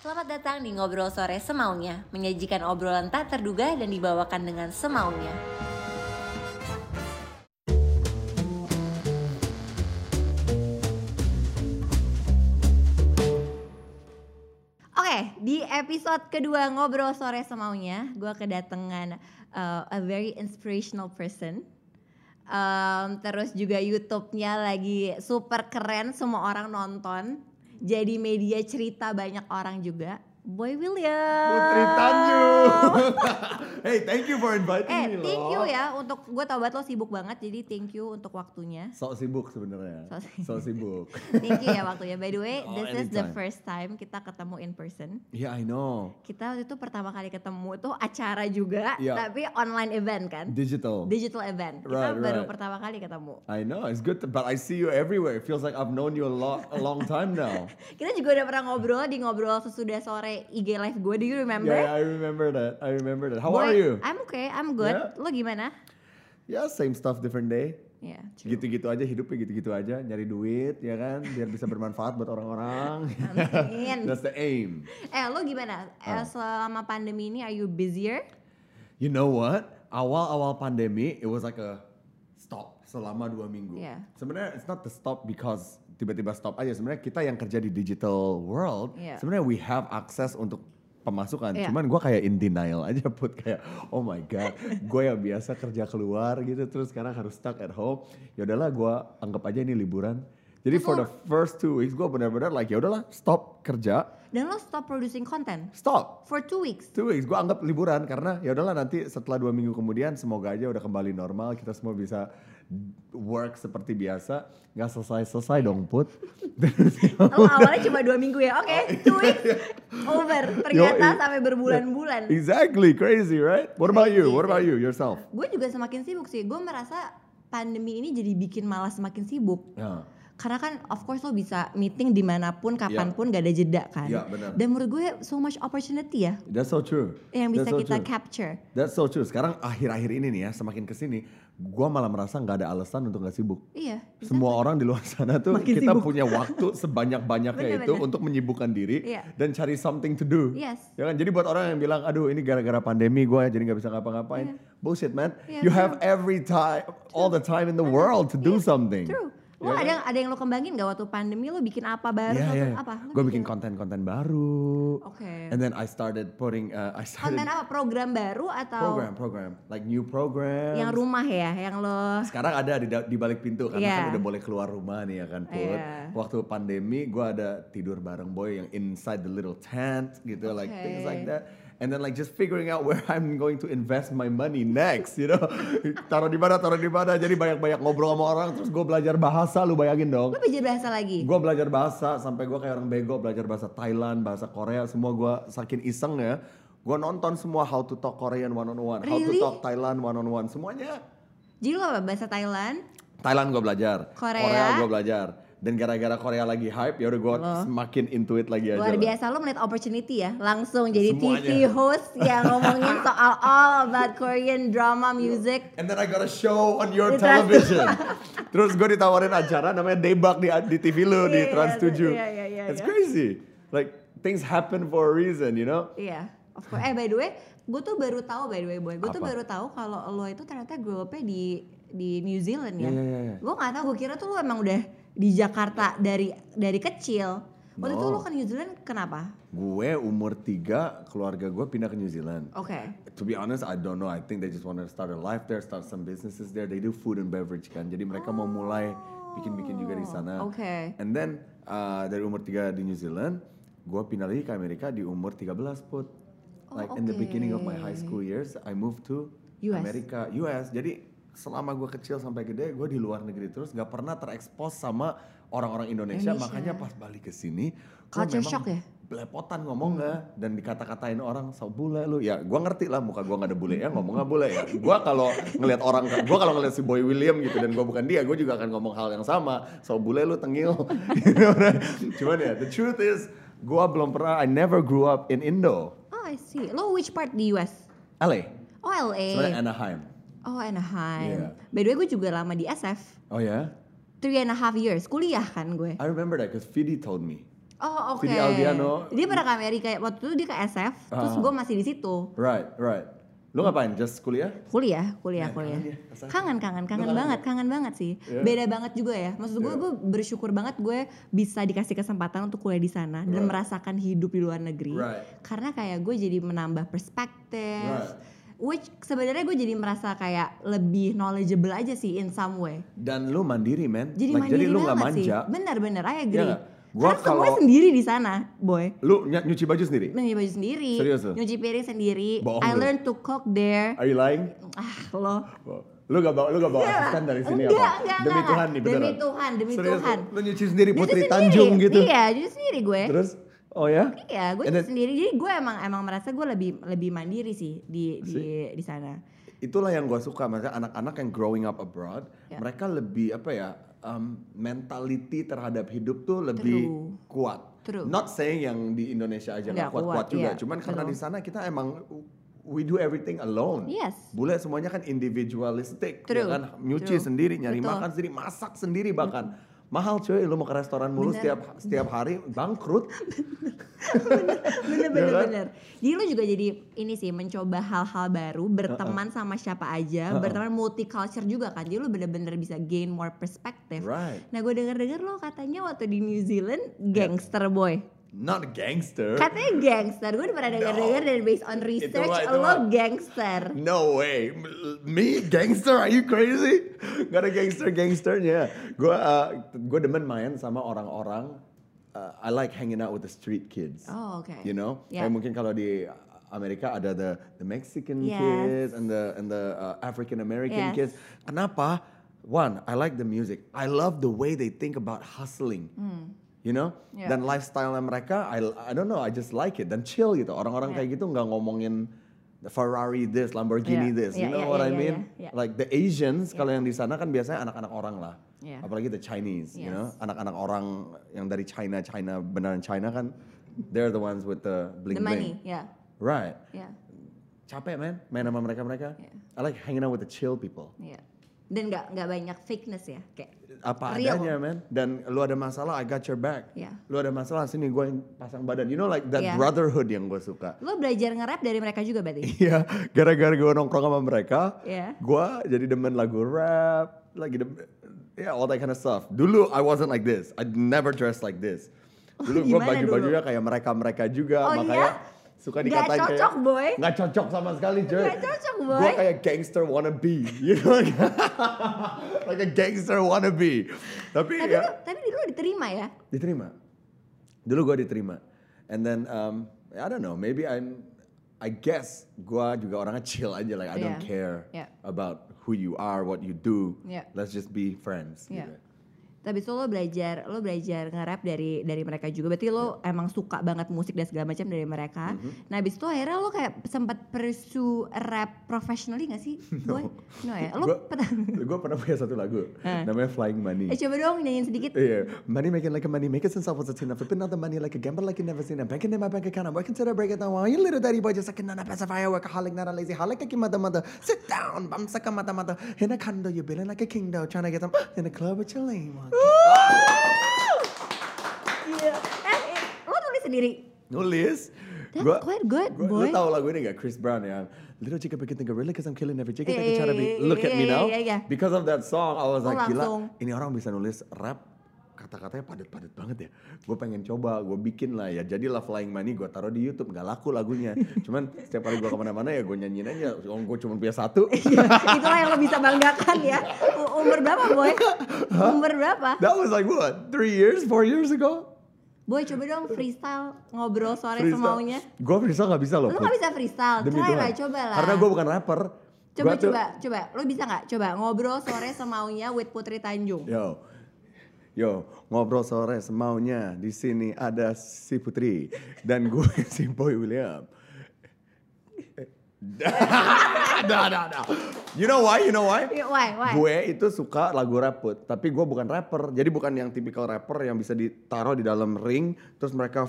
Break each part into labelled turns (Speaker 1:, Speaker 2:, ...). Speaker 1: Selamat datang di Ngobrol Sore Semaunya, menyajikan obrolan tak terduga dan dibawakan dengan semaunya. Oke, di episode kedua Ngobrol Sore Semaunya, gue kedatangan uh, a very inspirational person. Um, terus juga YouTube-nya lagi super keren, semua orang nonton. Jadi media cerita banyak orang juga. Boy William.
Speaker 2: Putri Tanjung. hey, thank you for inviting
Speaker 1: Eh,
Speaker 2: me loh.
Speaker 1: thank you ya untuk gue tau banget lo sibuk banget, jadi thank you untuk waktunya.
Speaker 2: Sok sibuk sebenarnya.
Speaker 1: Sok sibuk.
Speaker 2: Sok sibuk.
Speaker 1: Thank you ya waktunya. By the way,
Speaker 2: Oh,
Speaker 1: this is the
Speaker 2: anytime.
Speaker 1: first time kita ketemu in person.
Speaker 2: Yeah, I know.
Speaker 1: Kita waktu itu pertama kali ketemu tuh acara juga,
Speaker 2: Iya.
Speaker 1: tapi online event kan,
Speaker 2: Digital.
Speaker 1: digital event. Kita
Speaker 2: Right,
Speaker 1: baru
Speaker 2: right.
Speaker 1: pertama kali ketemu.
Speaker 2: I know. It's good, to- but I see you everywhere. It feels like I've known you a lot, a long time now.
Speaker 1: Kita juga udah pernah ngobrol di ngobrol sesudah sore IG live gue. Do you remember?
Speaker 2: yeah, I remember that. I remember that. How
Speaker 1: Boy,
Speaker 2: are you?
Speaker 1: I'm okay, I'm good.
Speaker 2: Yeah.
Speaker 1: Lo gimana?
Speaker 2: Yeah, same stuff, different day.
Speaker 1: Ya, true.
Speaker 2: Gitu-gitu aja hidupnya, gitu-gitu aja. Nyari duit, ya kan? Biar bisa bermanfaat buat orang-orang.
Speaker 1: Amin.
Speaker 2: That's Ah. the aim.
Speaker 1: Eh, lo gimana? Eh, selama pandemi ini are you busier?
Speaker 2: You know what? Awal-awal pandemi, it was like a stop selama dua minggu.
Speaker 1: Yeah.
Speaker 2: Sebenarnya it's not the stop because tiba-tiba stop aja. Sebenarnya kita yang kerja di digital world,
Speaker 1: Yeah.
Speaker 2: sebenarnya we have access untuk pemasukan.
Speaker 1: Yeah.
Speaker 2: Cuman gua kayak in denial aja put kayak oh my god, gue yang biasa kerja keluar gitu terus sekarang harus stuck at home. Ya udahlah, gua anggap aja ini liburan. Jadi
Speaker 1: Terus
Speaker 2: for
Speaker 1: lu-
Speaker 2: the first two weeks gue benar-benar like ya udahlah stop kerja,
Speaker 1: Dan lo stop producing content
Speaker 2: stop
Speaker 1: for two weeks.
Speaker 2: two weeks gue anggap liburan karena ya udahlah nanti setelah dua minggu kemudian semoga aja udah kembali normal kita semua bisa work seperti biasa nggak selesai selesai dong put
Speaker 1: Lo Oh, awalnya cuma dua minggu ya, oke, two weeks over. Ternyata
Speaker 2: Oh, iya. Yoi. Iya.
Speaker 1: sampai berbulan-bulan.
Speaker 2: exactly crazy right what about you what about you yourself
Speaker 1: Gue juga semakin sibuk sih. Gue merasa pandemi ini jadi bikin malas semakin sibuk.
Speaker 2: Nah,
Speaker 1: Karena kan of course lo bisa meeting dimanapun, kapanpun, gak ada jeda kan.
Speaker 2: Iya, benar.
Speaker 1: Dan menurut gue so much opportunity ya
Speaker 2: that's so true
Speaker 1: yang bisa
Speaker 2: That's so
Speaker 1: kita
Speaker 2: true.
Speaker 1: capture.
Speaker 2: That's so true. Sekarang akhir-akhir ini nih ya, semakin kesini, gue malah merasa nggak ada alasan untuk nggak sibuk.
Speaker 1: Iya. bisa.
Speaker 2: Semua orang di luar sana tuh
Speaker 1: Makin
Speaker 2: kita
Speaker 1: sibuk.
Speaker 2: punya waktu sebanyak-banyaknya itu
Speaker 1: Bener-bener.
Speaker 2: untuk menyibukkan diri
Speaker 1: Iya.
Speaker 2: dan cari something to do.
Speaker 1: Yes.
Speaker 2: Ya kan? Jadi buat orang yang bilang, aduh ini gara-gara pandemi gue jadi nggak bisa ngapa-ngapain. Bullshit man.
Speaker 1: Iya,
Speaker 2: you have every time, all the time in the world to do something.
Speaker 1: True. Lo
Speaker 2: Ya
Speaker 1: ada yang ada yang lo kembangin gak waktu pandemi lo bikin apa baru
Speaker 2: Iya,
Speaker 1: atau
Speaker 2: iya.
Speaker 1: apa? Lo
Speaker 2: Gue bikin konten-konten baru.
Speaker 1: Oke.
Speaker 2: And then I started putting, uh, I
Speaker 1: Konten
Speaker 2: started
Speaker 1: apa? Program baru atau
Speaker 2: program, program. Like new program.
Speaker 1: yang rumah ya, yang lo
Speaker 2: sekarang ada di, da- di balik pintu karena
Speaker 1: Iya.
Speaker 2: kan udah boleh keluar rumah nih ya kan Put.
Speaker 1: Iya.
Speaker 2: Waktu pandemi gue ada tidur bareng boy yang inside the little tent gitu like things like
Speaker 1: Okay.
Speaker 2: that. And then like just figuring out where I'm going to invest my money next, you know. taruh di mana, taruh di mana. Jadi banyak-banyak ngobrol sama orang terus gue belajar bahasa lu bayangin
Speaker 1: lo
Speaker 2: dong.
Speaker 1: belajar bahasa lagi.
Speaker 2: Gue belajar bahasa sampai gue kayak orang bego belajar bahasa Thailand, bahasa Korea, semua gue saking iseng ya. Gue nonton semua how to talk Korean one on one, how to
Speaker 1: Really?
Speaker 2: talk Thailand one on one, semuanya.
Speaker 1: Jadi lo apa? Bahasa Thailand?
Speaker 2: Thailand gue belajar,
Speaker 1: Korea.
Speaker 2: gue belajar. Dan gara-gara Korea lagi hype, ya udah gue
Speaker 1: Loh.
Speaker 2: semakin intuit lagi aja.
Speaker 1: Luar
Speaker 2: lah.
Speaker 1: biasa lo melihat opportunity ya, langsung jadi TV
Speaker 2: Semuanya.
Speaker 1: host yang ngomongin soal all about Korean drama music.
Speaker 2: And then I got a show on your
Speaker 1: Di Trans-
Speaker 2: television. Terus gue ditawarin acara namanya Debak di, di TV lu di
Speaker 1: Iya,
Speaker 2: Trans
Speaker 1: iya,
Speaker 2: 7.
Speaker 1: iya, iya, iya,
Speaker 2: It's
Speaker 1: iya.
Speaker 2: crazy. Like things happen for a reason, you know?
Speaker 1: Iya, of course. Eh by the way, gue tuh baru tahu by the way boy, gue tuh
Speaker 2: Apa?
Speaker 1: baru tahu kalau lo itu ternyata grow up di di New Zealand ya.
Speaker 2: Iya, iya, iya.
Speaker 1: Gue nggak tahu, gue kira tuh lo emang udah di Jakarta dari dari kecil. Waktu itu
Speaker 2: No.
Speaker 1: lo ke New Zealand kenapa?
Speaker 2: Gue umur 3, keluarga gue pindah ke New Zealand.
Speaker 1: Oke.
Speaker 2: To be honest, I don't know. I think they just want to start a life there, start some businesses there. They do food and beverage kan. Jadi mereka mau mulai
Speaker 1: Oh.
Speaker 2: bikin-bikin juga di sana.
Speaker 1: Oke.
Speaker 2: And then uh, dari umur 3 di New Zealand, gue pindah lagi ke Amerika di umur 13 put. Like in the beginning of my high school years, I moved to
Speaker 1: US.
Speaker 2: Amerika, US. Jadi selama gue kecil sampai gede, gue di luar negeri terus, gak pernah terekspos sama orang-orang Indonesia.
Speaker 1: Indonesia.
Speaker 2: Makanya pas balik ke sini, gue
Speaker 1: Culture
Speaker 2: memang
Speaker 1: shock ya?
Speaker 2: belepotan ngomongnya dan dikata-katain orang so bule lu ya gua ngerti lah muka gua nggak ada bule ya ngomongnya bule ya gua kalau ngelihat orang gua kalau ngelihat si Boy William gitu dan gua bukan dia gua juga akan ngomong hal yang sama so bule lu tengil You know, right? cuman ya the truth is gua belum pernah I never grew up in Indo
Speaker 1: Oh I see. Lo which part di US?
Speaker 2: LA
Speaker 1: Oh LA.
Speaker 2: sebenarnya Anaheim
Speaker 1: Oh Anaheim.
Speaker 2: Iya.
Speaker 1: By the way gue juga lama di SF.
Speaker 2: oh ya
Speaker 1: Three and a half years kuliah kan gue.
Speaker 2: I remember that because Fidi told me
Speaker 1: Oh oke.
Speaker 2: Vidi Aldiano.
Speaker 1: Dia pernah ke Amerika ya, waktu itu dia ke SF, terus
Speaker 2: Ah.
Speaker 1: gue masih di situ
Speaker 2: Right, right. Lu ngapain? Just kuliah?
Speaker 1: kuliah, kuliah,
Speaker 2: Ya,
Speaker 1: kuliah.
Speaker 2: kangen dia, SF.
Speaker 1: Kangen, kangen, kangen
Speaker 2: kangen
Speaker 1: banget, kangen banget sih.
Speaker 2: Iya.
Speaker 1: Beda banget juga ya. Maksud gue,
Speaker 2: Iya.
Speaker 1: gue bersyukur banget gue bisa dikasih kesempatan untuk kuliah di sana dan
Speaker 2: Right.
Speaker 1: merasakan hidup di luar negeri.
Speaker 2: Right.
Speaker 1: Karena kayak gue jadi menambah perspektif.
Speaker 2: Right.
Speaker 1: Which sebenarnya gue jadi merasa kayak lebih knowledgeable aja sih in some way.
Speaker 2: Dan lu mandiri, men.
Speaker 1: Jadi
Speaker 2: Like,
Speaker 1: mandiri
Speaker 2: jadi lu
Speaker 1: banget
Speaker 2: nggak
Speaker 1: sih.
Speaker 2: manja. Iya
Speaker 1: Bener-bener, I agree.
Speaker 2: nggak? Gua
Speaker 1: Karena semuanya
Speaker 2: kalau-
Speaker 1: sendiri di sana, boy.
Speaker 2: Lu ny- nyuci baju sendiri?
Speaker 1: Nyuci baju sendiri,
Speaker 2: Serius lu?
Speaker 1: nyuci piring sendiri.
Speaker 2: Bohong
Speaker 1: I
Speaker 2: lu.
Speaker 1: learned to cook there.
Speaker 2: Are you lying?
Speaker 1: Ah lo.
Speaker 2: Lu gak bawa, lu gak bawa asisten dari sini
Speaker 1: Iya. enggak,
Speaker 2: apa?
Speaker 1: enggak,
Speaker 2: demi
Speaker 1: enggak.
Speaker 2: Tuhan nih beneran.
Speaker 1: Demi Tuhan, demi
Speaker 2: Serius,
Speaker 1: Tuhan.
Speaker 2: Lu nyuci sendiri
Speaker 1: Nyuci
Speaker 2: Putri
Speaker 1: sendiri.
Speaker 2: Tanjung gitu.
Speaker 1: Iya, jadi sendiri gue.
Speaker 2: Terus, oh ya?
Speaker 1: Iya, gue
Speaker 2: And
Speaker 1: nyuci
Speaker 2: then-
Speaker 1: sendiri. Jadi gue emang emang merasa gue lebih lebih mandiri sih di di di sana.
Speaker 2: Itulah yang gue suka, maksudnya anak-anak yang growing up abroad,
Speaker 1: Ya.
Speaker 2: mereka lebih apa ya? um, mentality terhadap hidup tuh lebih
Speaker 1: True.
Speaker 2: kuat.
Speaker 1: True.
Speaker 2: Not saying yang di Indonesia aja nggak
Speaker 1: Nggak
Speaker 2: kuat-kuat
Speaker 1: kuat,
Speaker 2: juga,
Speaker 1: iya,
Speaker 2: cuman karena
Speaker 1: betul.
Speaker 2: di sana kita emang we do everything alone.
Speaker 1: Yes.
Speaker 2: Bule semuanya kan individualistik, ya
Speaker 1: True.
Speaker 2: kan nyuci
Speaker 1: True.
Speaker 2: sendiri, nyari
Speaker 1: Betul.
Speaker 2: makan sendiri, masak sendiri bahkan. Mahal cuy, lu mau ke restoran mulu
Speaker 1: Bener.
Speaker 2: setiap setiap hari bangkrut.
Speaker 1: bener bener
Speaker 2: Iya kan?
Speaker 1: bener. Jadi lu juga jadi ini sih mencoba hal-hal baru, berteman sama siapa aja,
Speaker 2: Uh-uh.
Speaker 1: berteman multicultural juga kan. Jadi lu bener-bener bisa gain more perspective.
Speaker 2: Right. Ya.
Speaker 1: Nah gue denger-denger lo katanya waktu di New Zealand gangster boy.
Speaker 2: Not a gangster.
Speaker 1: Katanya gangster, gue udah pernah denger-denger dan based on research
Speaker 2: mah- itu
Speaker 1: lo
Speaker 2: mah-
Speaker 1: gangster.
Speaker 2: No way, M- me gangster? Are you crazy? Gak ada gangster gangsternya. Gue gue demen main sama orang-orang. uh, I like hanging out with the street kids.
Speaker 1: Oh, okay.
Speaker 2: You know,
Speaker 1: Yeah.
Speaker 2: Kayak mungkin kalau di Amerika ada the the Mexican
Speaker 1: Yes.
Speaker 2: kids and the and the uh, African American
Speaker 1: Yes.
Speaker 2: kids. Kenapa? One, I like the music. I love the way they think about hustling. You know,
Speaker 1: Hmm. Yeah.
Speaker 2: dan lifestyle mereka, I I don't know, I just like it dan chill gitu. Orang-orang kayak gitu nggak ngomongin the Ferrari this, Lamborghini
Speaker 1: Yeah.
Speaker 2: this, you
Speaker 1: Yeah,
Speaker 2: know
Speaker 1: yeah,
Speaker 2: what
Speaker 1: yeah,
Speaker 2: I
Speaker 1: yeah,
Speaker 2: mean?
Speaker 1: yeah, yeah.
Speaker 2: Like the Asians kalau yang di sana kan biasanya anak-anak orang lah,
Speaker 1: Yeah.
Speaker 2: apalagi the Chinese, you
Speaker 1: Yes.
Speaker 2: know, anak-anak orang yang dari China, China beneran China kan, they're the ones with the bling
Speaker 1: The money,
Speaker 2: bling,
Speaker 1: ya.
Speaker 2: right?
Speaker 1: Ya,
Speaker 2: Capek man, main sama mereka-mereka.
Speaker 1: Yeah.
Speaker 2: I like hanging out with the chill people.
Speaker 1: ya. Dan nggak nggak banyak fakeness ya, kayak
Speaker 2: apa
Speaker 1: Real.
Speaker 2: adanya man dan lu ada masalah I got your back
Speaker 1: Yeah.
Speaker 2: lu ada masalah sini gue yang pasang badan you know like that
Speaker 1: Yeah.
Speaker 2: brotherhood yang gue suka
Speaker 1: lo belajar nge-rap dari mereka juga berarti. Ya.
Speaker 2: iya gara-gara gue nongkrong sama mereka
Speaker 1: Yeah.
Speaker 2: gue jadi demen lagu rap lagi demen yeah all that kind of stuff dulu I wasn't like this I never dressed like this dulu gue
Speaker 1: Oh, Gimana
Speaker 2: baju
Speaker 1: dulu?
Speaker 2: bajunya kayak mereka mereka juga
Speaker 1: Oh,
Speaker 2: makanya
Speaker 1: iya?
Speaker 2: suka
Speaker 1: Nggak
Speaker 2: dikatain
Speaker 1: cocok,
Speaker 2: kayak
Speaker 1: boy.
Speaker 2: nggak cocok sama sekali cuy
Speaker 1: Nggak cocok, boy.
Speaker 2: gue kayak gangster wannabe you know like a gangster wannabe tapi,
Speaker 1: Tapi
Speaker 2: ya
Speaker 1: lo- tapi lo diterima ya.
Speaker 2: diterima dulu gue diterima and then um, I don't know maybe I'm I guess gue juga orangnya chill aja like I don't
Speaker 1: Yeah.
Speaker 2: care
Speaker 1: Yeah.
Speaker 2: about who you are what you do
Speaker 1: Yeah.
Speaker 2: let's just be friends
Speaker 1: Iya.
Speaker 2: gitu.
Speaker 1: Tapi so lo belajar lo belajar nge-rap dari dari mereka juga. Berarti lo
Speaker 2: Ya.
Speaker 1: emang suka banget musik dan segala macam dari mereka.
Speaker 2: Mhm.
Speaker 1: Nah, habis itu akhirnya lo kayak sempat pursue rap professionally gak sih? Boy? No ya. Lo
Speaker 2: Gua-
Speaker 1: pernah-
Speaker 2: gue pernah punya satu lagu
Speaker 1: Eh.
Speaker 2: namanya Flying Money
Speaker 1: Eh coba dong nyanyiin sedikit.
Speaker 2: Yeah, money making like a money maker since I was a teen. I flipping out the money like a gambler like you never seen. I'm banking in my bank account. I'm working till I break it down. Why you little daddy boy just sucking on a pacifier workaholic, not a lazy holic like your mother mother. Sit down, I'm sucking mother mother. In a condo, you're building like a king though, trying to get them in a club with your lame monkey.
Speaker 1: Iya. Eh, eh, lo tulis sendiri.
Speaker 2: Nulis.
Speaker 1: That's quite good,
Speaker 2: gua,
Speaker 1: boy.
Speaker 2: Lu tahu lagu ini gak? Chris Brown ya. Little chicken picking think really cause I'm killing every chicken.
Speaker 1: Iya,
Speaker 2: Yeah, trying to be,
Speaker 1: iya, iya,
Speaker 2: look at me
Speaker 1: iya,
Speaker 2: now.
Speaker 1: iya, iya.
Speaker 2: Because of that song, I was
Speaker 1: Oh,
Speaker 2: like, gila.
Speaker 1: langsung.
Speaker 2: Ini orang bisa nulis rap kata-katanya padat-padat banget ya. Gue pengen coba, gue bikin lah ya. Jadilah Flying Money gue taruh di YouTube, nggak laku lagunya. Cuman setiap kali gue kemana-mana ya gue nyanyiin aja. Om gue cuma punya satu.
Speaker 1: Iya, Itulah yang lo bisa banggakan ya. U- Umur berapa, Boy? Umur berapa?
Speaker 2: That was like what? Three years, four years ago.
Speaker 1: Boy, coba dong freestyle ngobrol sore semaunya.
Speaker 2: Gue freestyle nggak bisa loh.
Speaker 1: Lo
Speaker 2: Put.
Speaker 1: gak bisa freestyle,
Speaker 2: Demi
Speaker 1: try
Speaker 2: Tuhan.
Speaker 1: lah, coba lah.
Speaker 2: Karena gue bukan rapper.
Speaker 1: Coba,
Speaker 2: Gua tuh-
Speaker 1: coba, coba. Lo bisa nggak? Coba ngobrol sore semaunya with Putri Tanjung.
Speaker 2: Yo, yo ngobrol sore semaunya di sini ada si Putri dan gue si Boy William. Nah, nah, nah. You know why? You know why?
Speaker 1: Iya, Why, why?
Speaker 2: Gue itu suka lagu rap, Put. tapi gue bukan rapper. Jadi bukan yang tipikal rapper yang bisa ditaruh di dalam ring, terus mereka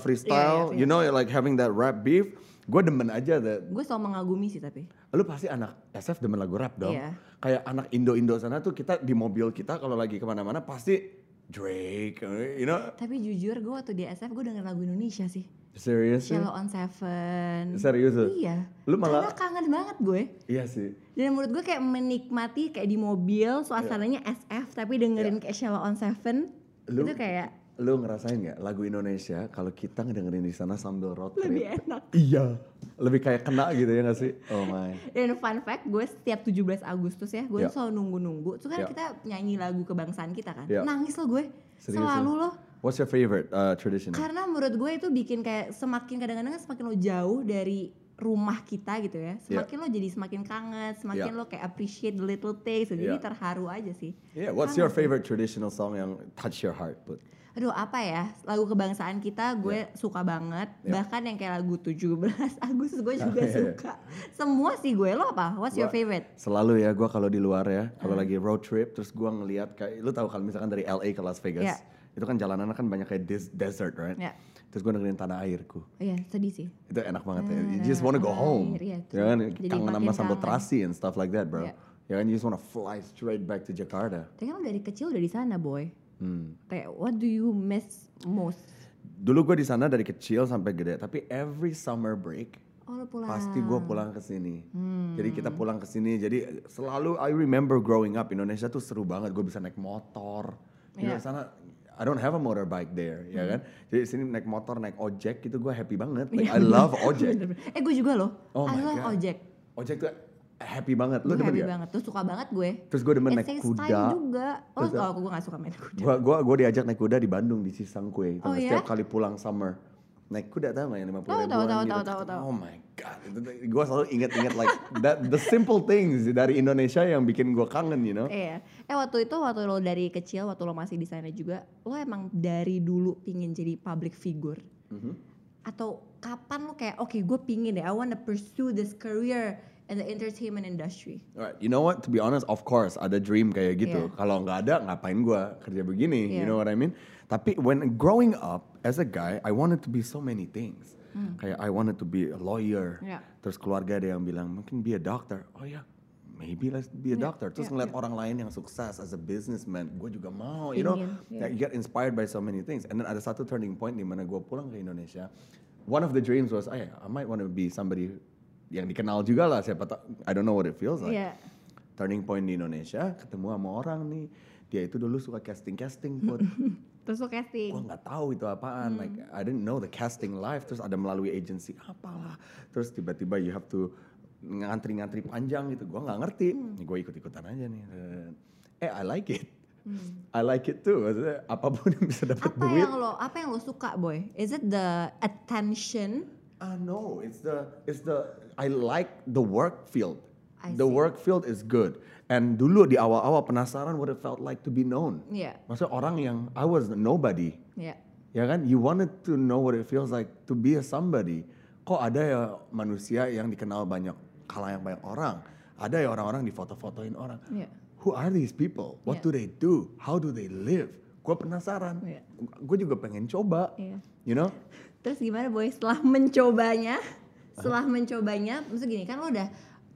Speaker 1: Iya,
Speaker 2: freestyle.
Speaker 1: iya,
Speaker 2: You know, like having that rap beef. Gue demen aja that
Speaker 1: Gue selalu mengagumi sih tapi.
Speaker 2: lu pasti anak SF demen lagu rap dong.
Speaker 1: Iya.
Speaker 2: Kayak anak Indo-Indo sana tuh kita di mobil kita kalau lagi kemana-mana pasti Drake, you know,
Speaker 1: Tapi jujur gue waktu di SF gue denger lagu Indonesia sih.
Speaker 2: serius sih?
Speaker 1: Shallow on Seven.
Speaker 2: Serius tuh?
Speaker 1: Iya.
Speaker 2: Lu malah-
Speaker 1: Karena kangen banget gue.
Speaker 2: Iya sih.
Speaker 1: Dan menurut gue kayak menikmati kayak di mobil suasananya SF tapi dengerin kayak Shallow on Seven.
Speaker 2: Lu-
Speaker 1: Itu kayak
Speaker 2: Lu ngerasain nggak lagu Indonesia kalau kita ngedengerin di sana sambil road trip?
Speaker 1: lebih enak.
Speaker 2: Iya, lebih kayak kena gitu ya nggak sih? Oh my.
Speaker 1: Dan fun fact gue setiap 17 Agustus ya gue
Speaker 2: Ya.
Speaker 1: selalu nunggu-nunggu. Terus kan
Speaker 2: Ya.
Speaker 1: kita nyanyi lagu kebangsaan kita kan.
Speaker 2: Ya.
Speaker 1: Nangis lo gue.
Speaker 2: Serius ya?
Speaker 1: Selalu loh.
Speaker 2: What's your favorite uh, tradition?
Speaker 1: Karena menurut gue itu bikin kayak semakin kadang-kadang kan semakin lo jauh dari rumah kita gitu ya.
Speaker 2: Iya.
Speaker 1: Semakin lo jadi semakin kangen, semakin
Speaker 2: Yeah.
Speaker 1: lo kayak appreciate the little things. Jadi
Speaker 2: Yeah.
Speaker 1: terharu aja sih.
Speaker 2: Yeah, what's your favorite traditional song yang touch your heart? Put?
Speaker 1: Aduh apa ya, lagu kebangsaan kita gue
Speaker 2: Iya.
Speaker 1: suka banget.
Speaker 2: Yeah.
Speaker 1: Bahkan yang kayak lagu 17 Agustus gue juga
Speaker 2: yeah, yeah.
Speaker 1: suka. Semua sih gue, lo apa? What's your
Speaker 2: Iya. Gua-
Speaker 1: favorite?
Speaker 2: Selalu ya, gua kalau di luar ya, kalau
Speaker 1: Hmm.
Speaker 2: lagi road trip, terus gua ngelihat kayak, lu tahu kalau misalkan dari LA ke Las Vegas,
Speaker 1: Yeah.
Speaker 2: itu kan jalanan kan banyak kayak des- desert, right?
Speaker 1: Yeah.
Speaker 2: Terus gua dengerin tanah airku,
Speaker 1: Iya sedih sih.
Speaker 2: itu enak banget ya. You
Speaker 1: Tanah
Speaker 2: just wanna go
Speaker 1: air,
Speaker 2: home,
Speaker 1: iya,
Speaker 2: ya kan?
Speaker 1: jadi
Speaker 2: Kangen
Speaker 1: makin
Speaker 2: sama
Speaker 1: kangen.
Speaker 2: sambal terasi and stuff like that, bro.
Speaker 1: Yeah.
Speaker 2: Ya kan, you just wanna fly straight back to Jakarta.
Speaker 1: Tapi kan lo dari kecil udah di sana boy.
Speaker 2: Hmm.
Speaker 1: Kayak what do you miss most?
Speaker 2: Dulu gue di sana dari kecil sampai gede, tapi every summer break
Speaker 1: Oh lo pulang.
Speaker 2: pasti gue pulang ke sini.
Speaker 1: Hmm.
Speaker 2: Jadi kita pulang ke sini. Jadi selalu I remember growing up Indonesia tuh seru banget. Gue bisa naik motor. Di
Speaker 1: Iya. Hmm.
Speaker 2: sana I don't have a motorbike there, ya kan? Jadi sini naik motor, naik ojek gitu gue happy banget. Like,
Speaker 1: Iya.
Speaker 2: I love ojek.
Speaker 1: Bener-bener. Eh gue juga loh.
Speaker 2: Oh
Speaker 1: I
Speaker 2: my
Speaker 1: love
Speaker 2: God.
Speaker 1: ojek.
Speaker 2: Ojek tuh happy banget. Lu
Speaker 1: Gue
Speaker 2: demen
Speaker 1: happy
Speaker 2: gak?
Speaker 1: banget. Terus suka banget gue.
Speaker 2: Terus gue demen
Speaker 1: It
Speaker 2: naik
Speaker 1: takes
Speaker 2: kuda.
Speaker 1: time juga. Oh,
Speaker 2: Terus-
Speaker 1: oh gue gak suka main kuda.
Speaker 2: Gua gua gua diajak naik kuda di Bandung di Sisangkue.
Speaker 1: Oh,
Speaker 2: Tau nggak?
Speaker 1: ya? Oh,
Speaker 2: Setiap kali pulang summer naik kuda tau nggak yang 50
Speaker 1: Tahu, tahu,
Speaker 2: ribuan
Speaker 1: tahu,
Speaker 2: gitu.
Speaker 1: tahu, tahu, tahu.
Speaker 2: Oh my god. Itu tuh Gua selalu inget-inget like that the simple things dari Indonesia yang bikin gua kangen, you know.
Speaker 1: Iya. Eh waktu itu waktu lo dari kecil waktu lo masih di sana juga, lo emang dari dulu pingin jadi public figure
Speaker 2: Mhm.
Speaker 1: atau kapan lo kayak oke gue pingin deh I wanna pursue this career in the entertainment industry.
Speaker 2: Alright, you know what? To be honest, of course ada dream kayak gitu.
Speaker 1: Yeah.
Speaker 2: Kalau nggak ada, ngapain gua kerja begini? You
Speaker 1: Yeah.
Speaker 2: know what I mean? Tapi when growing up as a guy, I wanted to be so many things. Kayak I wanted to be a lawyer.
Speaker 1: Hmm. Yeah.
Speaker 2: Terus keluarga ada yang bilang mungkin be a doctor. Oh ya, maybe let's be a doctor. Terus
Speaker 1: yeah,
Speaker 2: ngeliat orang lain yang sukses as a businessman, gue juga mau. You know,
Speaker 1: Ingin, yeah.
Speaker 2: Like, you get inspired by so many things. And then ada satu turning point di mana gue pulang ke Indonesia. One of the dreams was, "Ay, I might want to be somebody yang dikenal juga lah. Siapa tau, I don't know what it feels like
Speaker 1: Iya.
Speaker 2: turning point di Indonesia ketemu sama orang nih dia itu dulu suka casting casting put
Speaker 1: Terus lo casting.
Speaker 2: gua nggak tahu itu
Speaker 1: Mm.
Speaker 2: apaan like I didn't know the casting live terus ada melalui agency apalah terus tiba-tiba you have to ngantri-ngantri panjang gitu gua nggak ngerti
Speaker 1: Mm.
Speaker 2: gue ikut-ikutan aja nih eh I like it I like it too Maksudnya, apapun yang bisa dapat
Speaker 1: Mm. Apa
Speaker 2: duit
Speaker 1: yang lo apa yang lo suka boy? Is it the attention?
Speaker 2: Ah no, it's the it's the I like the work field.
Speaker 1: I
Speaker 2: the
Speaker 1: see.
Speaker 2: work field is good. And dulu di awal-awal penasaran what it felt like to be known.
Speaker 1: Iya.
Speaker 2: Maksudnya orang yang I was nobody,
Speaker 1: Iya.
Speaker 2: ya kan? You wanted to know what it feels like to be a somebody. Kok ada ya manusia yang dikenal banyak kalangan banyak orang. Ada ya orang-orang difoto-fotoin orang.
Speaker 1: Iya.
Speaker 2: Who are these people?
Speaker 1: Yeah.
Speaker 2: What do they do? How do they live? Gue penasaran.
Speaker 1: Yeah.
Speaker 2: Gue juga pengen coba.
Speaker 1: Iya.
Speaker 2: You know?
Speaker 1: Terus gimana boy setelah mencobanya? Setelah mencobanya, maksud gini kan lo udah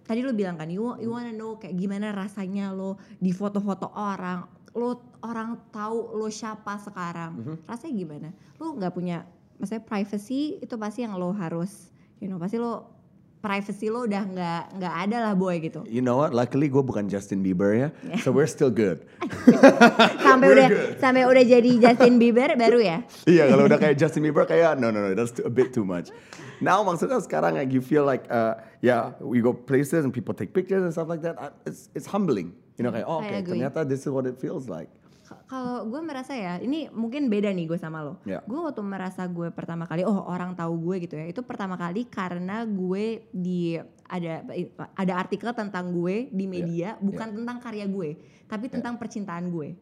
Speaker 1: tadi lo bilang kan you, you wanna know kayak gimana rasanya lo di foto-foto orang, lo orang tahu lo siapa sekarang.
Speaker 2: Mhm.
Speaker 1: Rasanya gimana? Lo nggak punya maksudnya privacy itu pasti yang lo harus you know, pasti lo privacy lo udah nggak nggak ada lah boy gitu.
Speaker 2: You know what? Luckily gue bukan Justin Bieber ya, so we're still good.
Speaker 1: Sampai
Speaker 2: We're
Speaker 1: udah
Speaker 2: good.
Speaker 1: sampai udah jadi Justin Bieber baru ya?
Speaker 2: Iya kalau udah kayak Justin Bieber kayak no no no that's too- a bit too much. Now maksudnya sekarang like you feel like uh, yeah we go places and people take pictures and stuff like that. Uh, It's it's humbling. You know kayak oh,
Speaker 1: I
Speaker 2: oke
Speaker 1: agree.
Speaker 2: ternyata this is what it feels like.
Speaker 1: K- kalau gue merasa ya ini mungkin beda nih gue sama lo
Speaker 2: Ya.
Speaker 1: gue waktu merasa gue pertama kali oh orang tahu gue gitu ya itu pertama kali karena gue di ada ada artikel tentang gue
Speaker 2: Ya.
Speaker 1: di media bukan tentang karya gue tapi tentang percintaan gue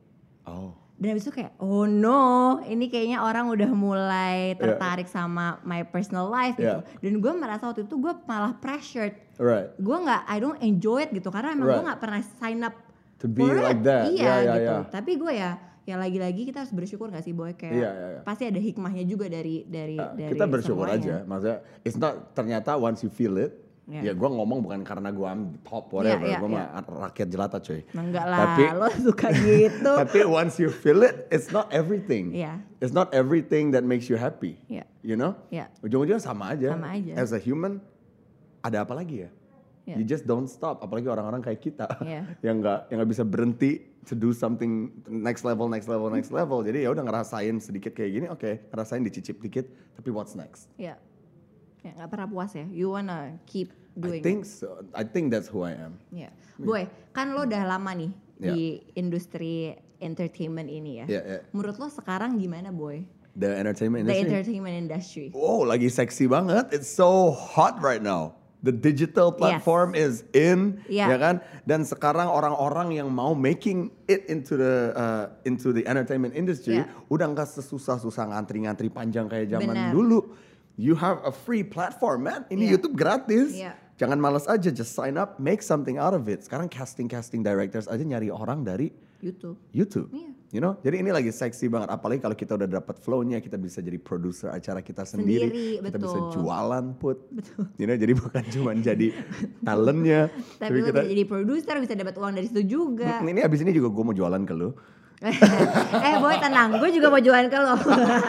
Speaker 2: Oh
Speaker 1: dan habis itu kayak oh no ini kayaknya orang udah mulai
Speaker 2: Ya.
Speaker 1: tertarik sama my personal life gitu
Speaker 2: Ya.
Speaker 1: dan gue merasa waktu itu gue malah pressured
Speaker 2: right
Speaker 1: gue nggak I don't enjoy it gitu karena emang gue
Speaker 2: Right.
Speaker 1: nggak pernah sign up
Speaker 2: To be
Speaker 1: for
Speaker 2: like
Speaker 1: it.
Speaker 2: that.
Speaker 1: iya
Speaker 2: Yeah, yeah,
Speaker 1: gitu
Speaker 2: yeah.
Speaker 1: tapi gue ya ya lagi-lagi kita harus bersyukur gak sih boy kayak
Speaker 2: Iya, iya, iya.
Speaker 1: pasti ada hikmahnya juga dari dari
Speaker 2: Uh,
Speaker 1: dari
Speaker 2: kita bersyukur
Speaker 1: semuanya.
Speaker 2: aja maksudnya it's not ternyata once you feel it
Speaker 1: Iya.
Speaker 2: Ya gua ngomong bukan karena gua am top
Speaker 1: Iya,
Speaker 2: whatever,
Speaker 1: iya,
Speaker 2: gua mah rakyat jelata cuy.
Speaker 1: Nah, Enggak lah,
Speaker 2: Tapi-
Speaker 1: lo suka gitu.
Speaker 2: Tapi once you feel it, it's not everything.
Speaker 1: Iya.
Speaker 2: It's not everything that makes you happy.
Speaker 1: Iya.
Speaker 2: You know?
Speaker 1: Iya.
Speaker 2: Ujung-ujungnya sama aja.
Speaker 1: Sama aja.
Speaker 2: As a human, ada apa lagi ya?
Speaker 1: Iya.
Speaker 2: You just don't stop. Apalagi orang-orang kayak kita
Speaker 1: Iya.
Speaker 2: yang nggak yang nggak bisa berhenti to do something next level, next level, next
Speaker 1: Hmm.
Speaker 2: level. Jadi ya udah ngerasain sedikit kayak gini, oke, ngerasain dicicip dikit. Tapi what's next?
Speaker 1: Ya. Ya, nggak pernah puas ya. You wanna keep
Speaker 2: I
Speaker 1: doing.
Speaker 2: think so. I think that's who I am.
Speaker 1: Ya. Boy, kan lo udah lama nih
Speaker 2: Ya.
Speaker 1: di industri entertainment ini ya.
Speaker 2: Ya, ya.
Speaker 1: Menurut lo sekarang gimana, Boy?
Speaker 2: The entertainment
Speaker 1: The
Speaker 2: industry.
Speaker 1: entertainment industry.
Speaker 2: Wow, lagi seksi banget. It's so hot right now. The digital platform is in,
Speaker 1: Iya.
Speaker 2: ya kan? Dan sekarang orang-orang yang mau making it into the uh, into the entertainment industry
Speaker 1: Iya.
Speaker 2: udah nggak sesusah-susah ngantri-ngantri panjang kayak zaman
Speaker 1: Benar.
Speaker 2: dulu. You have a free platform, man. Ini
Speaker 1: Iya.
Speaker 2: YouTube gratis.
Speaker 1: Iya.
Speaker 2: Jangan malas aja, just sign up, make something out of it. Sekarang casting-casting directors aja nyari orang dari
Speaker 1: YouTube.
Speaker 2: YouTube.
Speaker 1: Iya.
Speaker 2: You know, jadi ini lagi seksi banget. Apalagi kalau kita udah dapat flow-nya, kita bisa jadi produser acara kita sendiri,
Speaker 1: Sendiri,
Speaker 2: kita bisa
Speaker 1: betul.
Speaker 2: jualan put. Betul. You know, jadi bukan cuma jadi talentnya,
Speaker 1: Tapi lo bisa jadi produser, bisa dapat uang dari situ juga.
Speaker 2: ini abis ini juga gue mau jualan ke lu.
Speaker 1: eh boy tenang, gue juga mau jualan ke lo.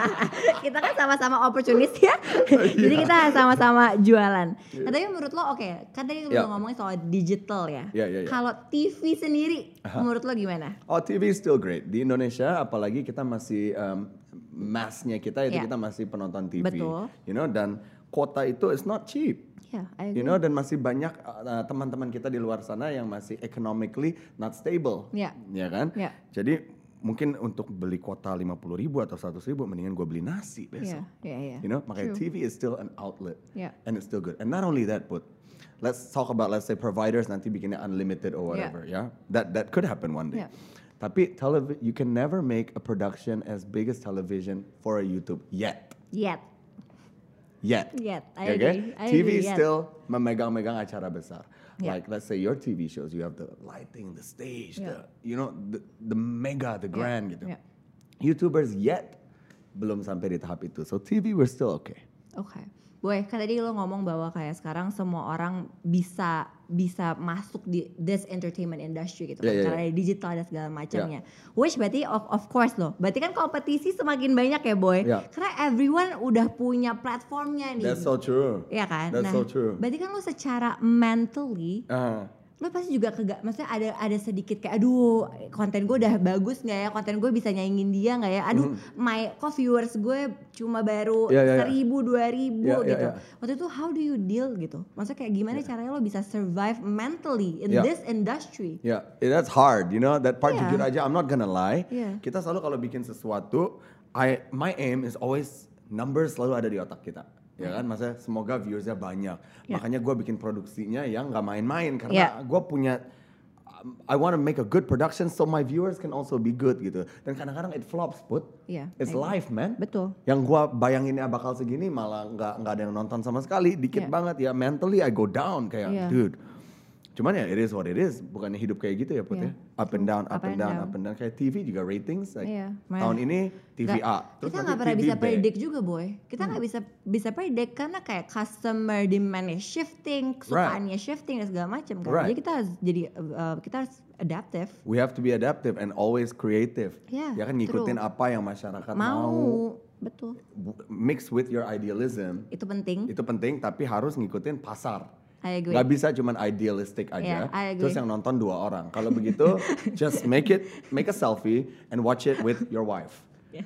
Speaker 1: kita kan sama-sama opportunis ya,
Speaker 2: Iya.
Speaker 1: jadi kita sama-sama jualan. Nah, tapi menurut lo oke, kan tadi lo
Speaker 2: Ya.
Speaker 1: ngomongin soal digital ya.
Speaker 2: Ya, ya, ya.
Speaker 1: Kalau TV sendiri, menurut lo gimana?
Speaker 2: Oh TV is still great di Indonesia, apalagi kita masih um, massnya kita itu
Speaker 1: Iya.
Speaker 2: kita masih penonton TV.
Speaker 1: Betul.
Speaker 2: You know, dan kuota itu is not cheap.
Speaker 1: Ya,
Speaker 2: You know dan masih banyak uh, teman-teman kita di luar sana yang masih economically not stable.
Speaker 1: Iya.
Speaker 2: Ya kan?
Speaker 1: Iya.
Speaker 2: Jadi mungkin untuk beli kuota 50.000 ribu atau 100.000 ribu mendingan gue beli nasi
Speaker 1: ya,
Speaker 2: besok.
Speaker 1: ya, ya.
Speaker 2: You know, makanya TV is still an outlet.
Speaker 1: Iya.
Speaker 2: And it's still good. And not only that, but let's talk about let's say providers nanti bikinnya unlimited
Speaker 1: Iya.
Speaker 2: or whatever, yeah. That that could happen one day.
Speaker 1: Iya.
Speaker 2: Tapi televi- you can never make a production as big as television for a YouTube yet.
Speaker 1: Yet,
Speaker 2: Yet.
Speaker 1: yet. I
Speaker 2: Okay?
Speaker 1: agree. I
Speaker 2: TV
Speaker 1: agree,
Speaker 2: is
Speaker 1: yet.
Speaker 2: kan? still memegang-megang acara besar.
Speaker 1: Yeah.
Speaker 2: Like let's say your TV shows, you have the lighting, the stage, the
Speaker 1: Yeah.
Speaker 2: you know the, the mega, the grand gitu.
Speaker 1: yeah.
Speaker 2: YouTubers yet belum sampai di tahap itu. So TV we're still okay.
Speaker 1: Oke. Boy, kan tadi lo ngomong bahwa kayak sekarang semua orang bisa bisa masuk di this entertainment industry gitu kan.
Speaker 2: Iya, iya,
Speaker 1: Karena ada digital dan segala macamnya. Which berarti of, of course loh. Berarti kan kompetisi semakin banyak ya, Boy.
Speaker 2: Iya.
Speaker 1: Karena everyone udah punya platformnya nih.
Speaker 2: That's so true.
Speaker 1: Iya kan?
Speaker 2: That's so true.
Speaker 1: Berarti kan lo secara mentally
Speaker 2: Ah.
Speaker 1: lo pasti juga kegak maksudnya ada ada sedikit kayak aduh konten gue udah bagus nggak ya konten gue bisa nyaingin dia nggak ya aduh
Speaker 2: Mm-hmm.
Speaker 1: my kok viewers gue cuma baru
Speaker 2: Ya, ya, ya.
Speaker 1: seribu dua ribu
Speaker 2: Ya, ya,
Speaker 1: gitu
Speaker 2: ya.
Speaker 1: waktu itu how do you deal gitu maksudnya kayak gimana
Speaker 2: Iya.
Speaker 1: caranya lo bisa survive mentally in
Speaker 2: Ya.
Speaker 1: this industry
Speaker 2: Yeah, eh, that's hard. You know that part
Speaker 1: Yeah.
Speaker 2: jujur aja. I'm not gonna lie.
Speaker 1: Yeah.
Speaker 2: Kita selalu kalau bikin sesuatu, I my aim is always numbers selalu ada di otak kita. Ya kan, maksudnya semoga viewersnya banyak. Makanya gue bikin produksinya yang nggak main-main karena gue punya um, I want to make a good production so my viewers can also be good gitu. Dan kadang-kadang it flops, put.
Speaker 1: Iya,
Speaker 2: It's
Speaker 1: I agree.
Speaker 2: life, man.
Speaker 1: Betul.
Speaker 2: Yang gue bayanginnya bakal segini malah nggak nggak ada yang nonton sama sekali. Dikit
Speaker 1: Iya.
Speaker 2: banget ya. Mentally I go down kayak,
Speaker 1: Iya.
Speaker 2: dude. Cuman ya it is what it is, bukannya hidup kayak gitu ya Put
Speaker 1: Iya.
Speaker 2: ya. Up and down, up,
Speaker 1: Up and
Speaker 2: and down,
Speaker 1: down.
Speaker 2: up and down. Kayak TV juga ratings, like
Speaker 1: Iya, makanya.
Speaker 2: tahun ini TV
Speaker 1: Nggak-
Speaker 2: A, terus
Speaker 1: kita
Speaker 2: nanti
Speaker 1: nggak pernah
Speaker 2: TV
Speaker 1: bisa
Speaker 2: B. Mm-hmm.
Speaker 1: predict juga boy kita nggak bisa bisa predict karena kayak customer demandnya shifting kesukaannya shifting dan segala macam kan
Speaker 2: Right.
Speaker 1: jadi kita harus jadi uh, kita harus adaptive
Speaker 2: We have to be adaptive and always creative.
Speaker 1: Iya,
Speaker 2: ya kan ngikutin
Speaker 1: true.
Speaker 2: apa yang masyarakat
Speaker 1: mau
Speaker 2: mau.
Speaker 1: betul
Speaker 2: Bu- Mix with your idealism.
Speaker 1: itu penting
Speaker 2: Itu penting tapi harus ngikutin pasar.
Speaker 1: I agree.
Speaker 2: Gak bisa cuman idealistik
Speaker 1: Iya,
Speaker 2: aja.
Speaker 1: I agree.
Speaker 2: terus yang nonton dua orang. Kalau begitu just make it make a selfie and watch it with your wife.
Speaker 1: Iya.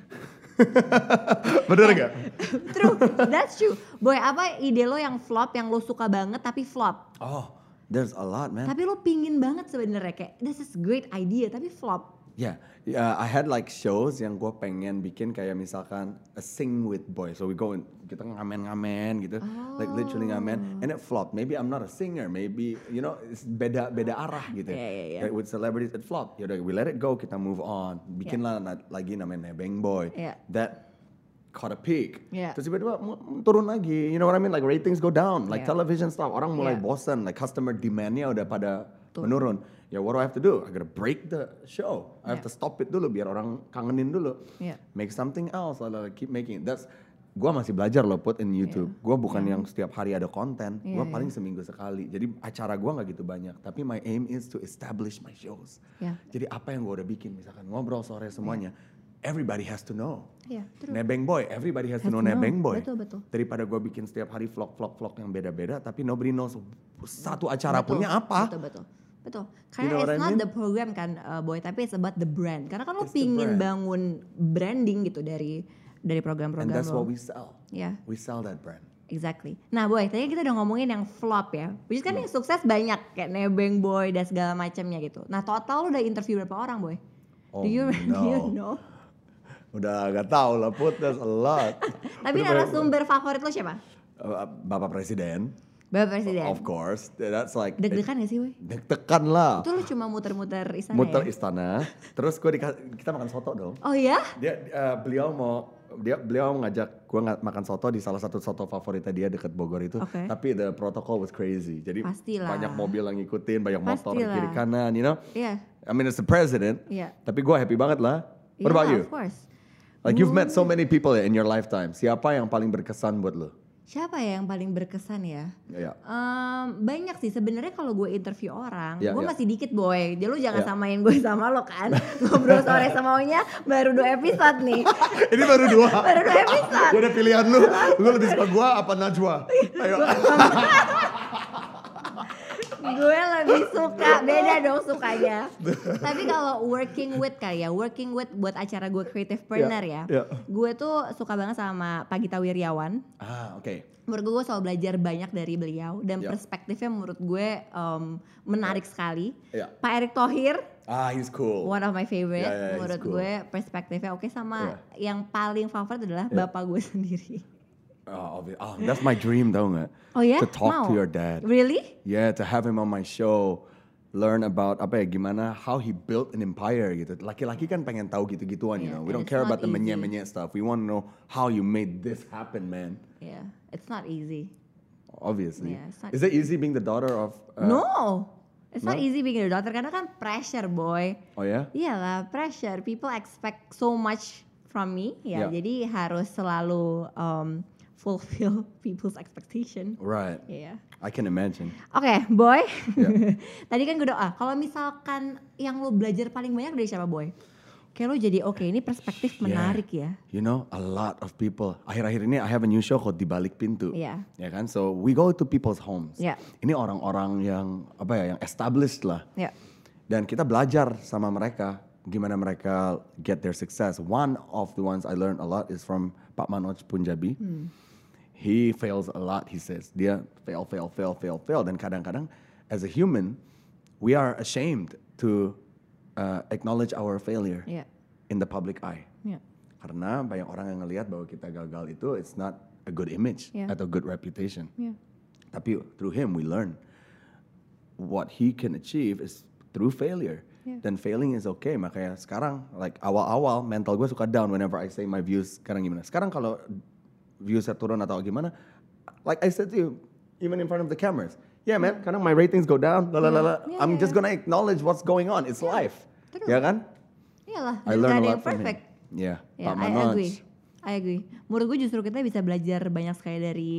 Speaker 2: Bener gak?
Speaker 1: True, that's true. Boy, apa ide lo yang flop yang lo suka banget tapi flop?
Speaker 2: Oh, there's a lot, man.
Speaker 1: Tapi lo pingin banget sebenarnya kayak this is great idea tapi flop.
Speaker 2: Yeah, yeah. Ya, I had like shows yang gue pengen bikin kayak misalkan a sing with boy. So we go in, kita ngamen-ngamen gitu, like
Speaker 1: Oh.
Speaker 2: literally ngamen. And it flopped. Maybe I'm not a singer. Maybe you know it's beda beda arah gitu.
Speaker 1: Yeah, yeah, yeah.
Speaker 2: Like with celebrities it flopped. Yaudah we let it go. Kita move on. Bikinlah na- lagi namanya Bang Boy.
Speaker 1: Yeah.
Speaker 2: That caught a peak.
Speaker 1: Yeah.
Speaker 2: Terus tiba-tiba mu- turun lagi. You know what I mean? Like ratings go down. Like
Speaker 1: Yeah.
Speaker 2: television stuff. Orang mulai
Speaker 1: Yeah.
Speaker 2: bosan. Like customer demandnya udah pada
Speaker 1: Betul.
Speaker 2: menurun. Ya what do I have to do? I gotta break the show. I have
Speaker 1: Yeah.
Speaker 2: to stop it dulu biar orang kangenin dulu.
Speaker 1: Yeah.
Speaker 2: Make something else. I'll, keep making it. That's gua masih belajar loh put in YouTube.
Speaker 1: Ya.
Speaker 2: Gua bukan yang setiap hari ada konten.
Speaker 1: Iya,
Speaker 2: gua
Speaker 1: iya.
Speaker 2: paling seminggu sekali. Jadi acara gua nggak gitu banyak. Tapi my aim is to establish my shows.
Speaker 1: ya
Speaker 2: Jadi apa yang gua udah bikin, misalkan ngobrol sore semuanya, everybody has to know.
Speaker 1: ya true
Speaker 2: Nebeng Boy, everybody has, to
Speaker 1: Has
Speaker 2: know
Speaker 1: to know.
Speaker 2: Nebeng Boy.
Speaker 1: Betul, betul.
Speaker 2: Daripada gua bikin setiap hari vlog-vlog-vlog yang beda-beda, tapi nobody knows satu acara
Speaker 1: Betul,
Speaker 2: punya apa.
Speaker 1: Betul betul. Betul. Karena
Speaker 2: know what
Speaker 1: it's
Speaker 2: I
Speaker 1: not
Speaker 2: mean?
Speaker 1: the program kan uh, boy, tapi it's about the brand. Karena kan lo
Speaker 2: It's the
Speaker 1: pingin
Speaker 2: brand.
Speaker 1: bangun branding gitu dari dari program-program
Speaker 2: And that's
Speaker 1: lo.
Speaker 2: what we sell.
Speaker 1: Ya,
Speaker 2: We sell that brand.
Speaker 1: exactly. Nah, boy, tadi kita udah ngomongin yang flop ya. Which is
Speaker 2: Hmm.
Speaker 1: kan yang sukses banyak kayak Nebeng Boy dan segala macamnya gitu. Nah, total lo udah interview berapa orang, boy?
Speaker 2: Oh,
Speaker 1: do you do you
Speaker 2: no.
Speaker 1: know?
Speaker 2: Udah gak tau lah put, that's a lot.
Speaker 1: Tapi
Speaker 2: Udah banyak-
Speaker 1: narasumber favorit lo siapa?
Speaker 2: Uh, Bapak Presiden,
Speaker 1: Bapak Presiden.
Speaker 2: of course. That's like
Speaker 1: Deg-degan gak sih, boy?
Speaker 2: deg-degan lah.
Speaker 1: Itu lo cuma muter-muter istana
Speaker 2: Muter
Speaker 1: ya?
Speaker 2: istana, terus gue kita makan soto dong.
Speaker 1: Oh ya?
Speaker 2: Dia eh, beliau mau dia beliau ngajak gue nggak makan soto di salah satu soto favoritnya dia deket Bogor itu.
Speaker 1: Oke.
Speaker 2: Tapi the protocol was crazy. Jadi
Speaker 1: Pastilah.
Speaker 2: banyak mobil yang ngikutin, banyak motor
Speaker 1: Pastilah.
Speaker 2: kiri kanan, you know.
Speaker 1: Iya.
Speaker 2: I mean it's the president.
Speaker 1: Iya.
Speaker 2: Tapi gue happy banget lah.
Speaker 1: Iya,
Speaker 2: What
Speaker 1: Hmm.
Speaker 2: about you?
Speaker 1: Of course.
Speaker 2: Like you've met so many people in your lifetime. Siapa yang paling berkesan buat lo?
Speaker 1: Siapa ya yang paling berkesan ya?
Speaker 2: Ya.
Speaker 1: Em, banyak sih sebenarnya kalau gue interview orang,
Speaker 2: Ya,
Speaker 1: gue
Speaker 2: ya.
Speaker 1: masih dikit boy. Jadi lu jangan
Speaker 2: Ya.
Speaker 1: samain gue sama lo kan. Ngobrol sore semaunya baru dua episode nih.
Speaker 2: Ini baru dua.
Speaker 1: Baru dua episode.
Speaker 2: Gue udah pilihan lu. Lu lebih suka gue apa Najwa? Ayo.
Speaker 1: gue lebih suka beda dong sukanya. Tapi kalau working with kali ya, working with buat acara gue creative partner
Speaker 2: Ya,
Speaker 1: ya.
Speaker 2: ya.
Speaker 1: Gue tuh suka banget sama Pagita Wiryawan.
Speaker 2: Ah, oke.
Speaker 1: menurut gue gue selalu belajar banyak dari beliau dan
Speaker 2: Ya.
Speaker 1: perspektifnya menurut gue em, menarik sekali.
Speaker 2: Ya.
Speaker 1: Pak Erick Thohir,
Speaker 2: Ah, he's cool.
Speaker 1: one of my favorite,
Speaker 2: Ya, ya, he's
Speaker 1: menurut
Speaker 2: cool. Ya.
Speaker 1: gue perspektifnya oke sama yang paling favorit adalah bapak gue sendiri.
Speaker 2: Oh, obvi- oh, that's my dream tau nggak?
Speaker 1: Oh ya,
Speaker 2: To talk
Speaker 1: mau?
Speaker 2: to your dad.
Speaker 1: Really?
Speaker 2: Yeah, to have him on my show. Learn about apa ya gimana how he built an empire gitu. Laki-laki kan pengen tahu gitu-gituan, you
Speaker 1: Yeah,
Speaker 2: know. We
Speaker 1: and
Speaker 2: don't
Speaker 1: it's
Speaker 2: care
Speaker 1: not
Speaker 2: about the
Speaker 1: easy.
Speaker 2: menye-menye stuff. We want to know how you made this happen, man.
Speaker 1: Yeah, it's not easy.
Speaker 2: Obviously.
Speaker 1: Yeah, it's not
Speaker 2: Is it easy being the daughter of? uh,
Speaker 1: no, it's not easy being a daughter karena kan pressure boy.
Speaker 2: Oh ya.
Speaker 1: Iyalah pressure, people expect so much from me ya.
Speaker 2: Ya.
Speaker 1: Jadi harus selalu em, fulfill people's expectation.
Speaker 2: Right.
Speaker 1: Iya.
Speaker 2: I can imagine.
Speaker 1: Oke, boy.
Speaker 2: Ya.
Speaker 1: Tadi kan gue doa. Kalau misalkan yang lo belajar paling banyak dari siapa, boy? Kayak lo jadi oke, ini perspektif
Speaker 2: Yeah.
Speaker 1: menarik ya.
Speaker 2: You know, a lot of people. Akhir-akhir ini I have a new show called Di Balik Pintu.
Speaker 1: Iya.
Speaker 2: Ya kan? So we go to people's homes.
Speaker 1: Iya.
Speaker 2: Ini orang-orang yang apa ya, yang established lah.
Speaker 1: Ya.
Speaker 2: Dan kita belajar sama mereka gimana mereka get their success. One of the ones I learned a lot is from Pak Manoj Punjabi. He fails a lot, he says. Dia fail, fail, fail, fail, fail. Dan kadang-kadang as a human, we are ashamed to uh, acknowledge our failure
Speaker 1: Iya.
Speaker 2: in the public eye.
Speaker 1: Iya.
Speaker 2: Karena banyak orang yang ngelihat bahwa kita gagal itu it's not a good image
Speaker 1: Yeah.
Speaker 2: atau good reputation.
Speaker 1: Iya.
Speaker 2: Tapi through him we learn what he can achieve is through failure.
Speaker 1: Yeah.
Speaker 2: Dan failing is okay. Makanya sekarang like awal-awal mental gue suka down whenever I say my views sekarang gimana. Sekarang kalau viewsnya turun atau gimana, like I said to you, even in front of the cameras, yeah man, kadang my ratings go down, la la la la.
Speaker 1: Yeah,
Speaker 2: I'm
Speaker 1: yeah,
Speaker 2: just gonna acknowledge what's going on. It's life,
Speaker 1: True.
Speaker 2: ya kan?
Speaker 1: Iyalah,
Speaker 2: I
Speaker 1: dan gak
Speaker 2: learn
Speaker 1: ada
Speaker 2: a
Speaker 1: yang
Speaker 2: lot from him.
Speaker 1: perfect.
Speaker 2: Yeah,
Speaker 1: Ya,
Speaker 2: Pak
Speaker 1: I
Speaker 2: Manoj.
Speaker 1: agree. I agree. Menurut gue justru kita bisa belajar banyak sekali dari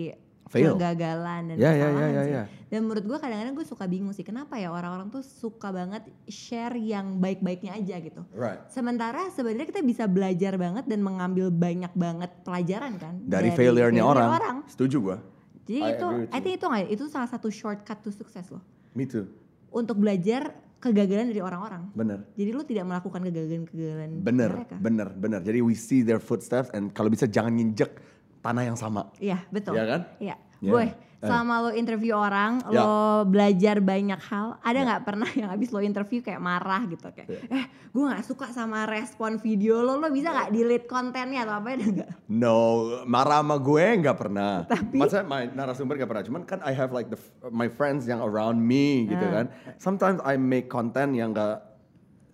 Speaker 2: Fail.
Speaker 1: kegagalan dan
Speaker 2: Ya, ya, ya,
Speaker 1: kesalahan
Speaker 2: ya,
Speaker 1: sih.
Speaker 2: ya.
Speaker 1: Dan menurut gue kadang-kadang gue suka bingung sih kenapa ya orang-orang tuh suka banget share yang baik-baiknya aja gitu.
Speaker 2: Right.
Speaker 1: Sementara sebenarnya kita bisa belajar banget dan mengambil banyak banget pelajaran kan
Speaker 2: dari, failure-nya orang.
Speaker 1: orang.
Speaker 2: Setuju gua.
Speaker 1: Jadi
Speaker 2: I
Speaker 1: itu,
Speaker 2: agree with
Speaker 1: I think itu nggak- itu salah satu shortcut to sukses loh.
Speaker 2: Me too.
Speaker 1: Untuk belajar kegagalan dari orang-orang.
Speaker 2: Bener.
Speaker 1: Jadi lu tidak melakukan kegagalan-kegagalan
Speaker 2: Bener,
Speaker 1: mereka.
Speaker 2: bener, bener. Jadi we see their footsteps and kalau bisa jangan nginjek tanah yang sama.
Speaker 1: Iya betul.
Speaker 2: Iya kan?
Speaker 1: Iya.
Speaker 2: Iya.
Speaker 1: Boy,
Speaker 2: Eh.
Speaker 1: selama lo interview orang,
Speaker 2: Ya.
Speaker 1: lo belajar banyak hal. Ada nggak pernah yang abis lo interview kayak marah gitu kayak,
Speaker 2: Ya.
Speaker 1: eh gue nggak suka sama respon video lo, lo bisa
Speaker 2: Ya.
Speaker 1: nggak delete kontennya atau apa ya nggak?
Speaker 2: No, marah sama gue nggak pernah. Tapi, Maksudnya my narasumber nggak pernah. Cuman kan I have like the my friends yang around me gitu kan. Sometimes I make content yang nggak.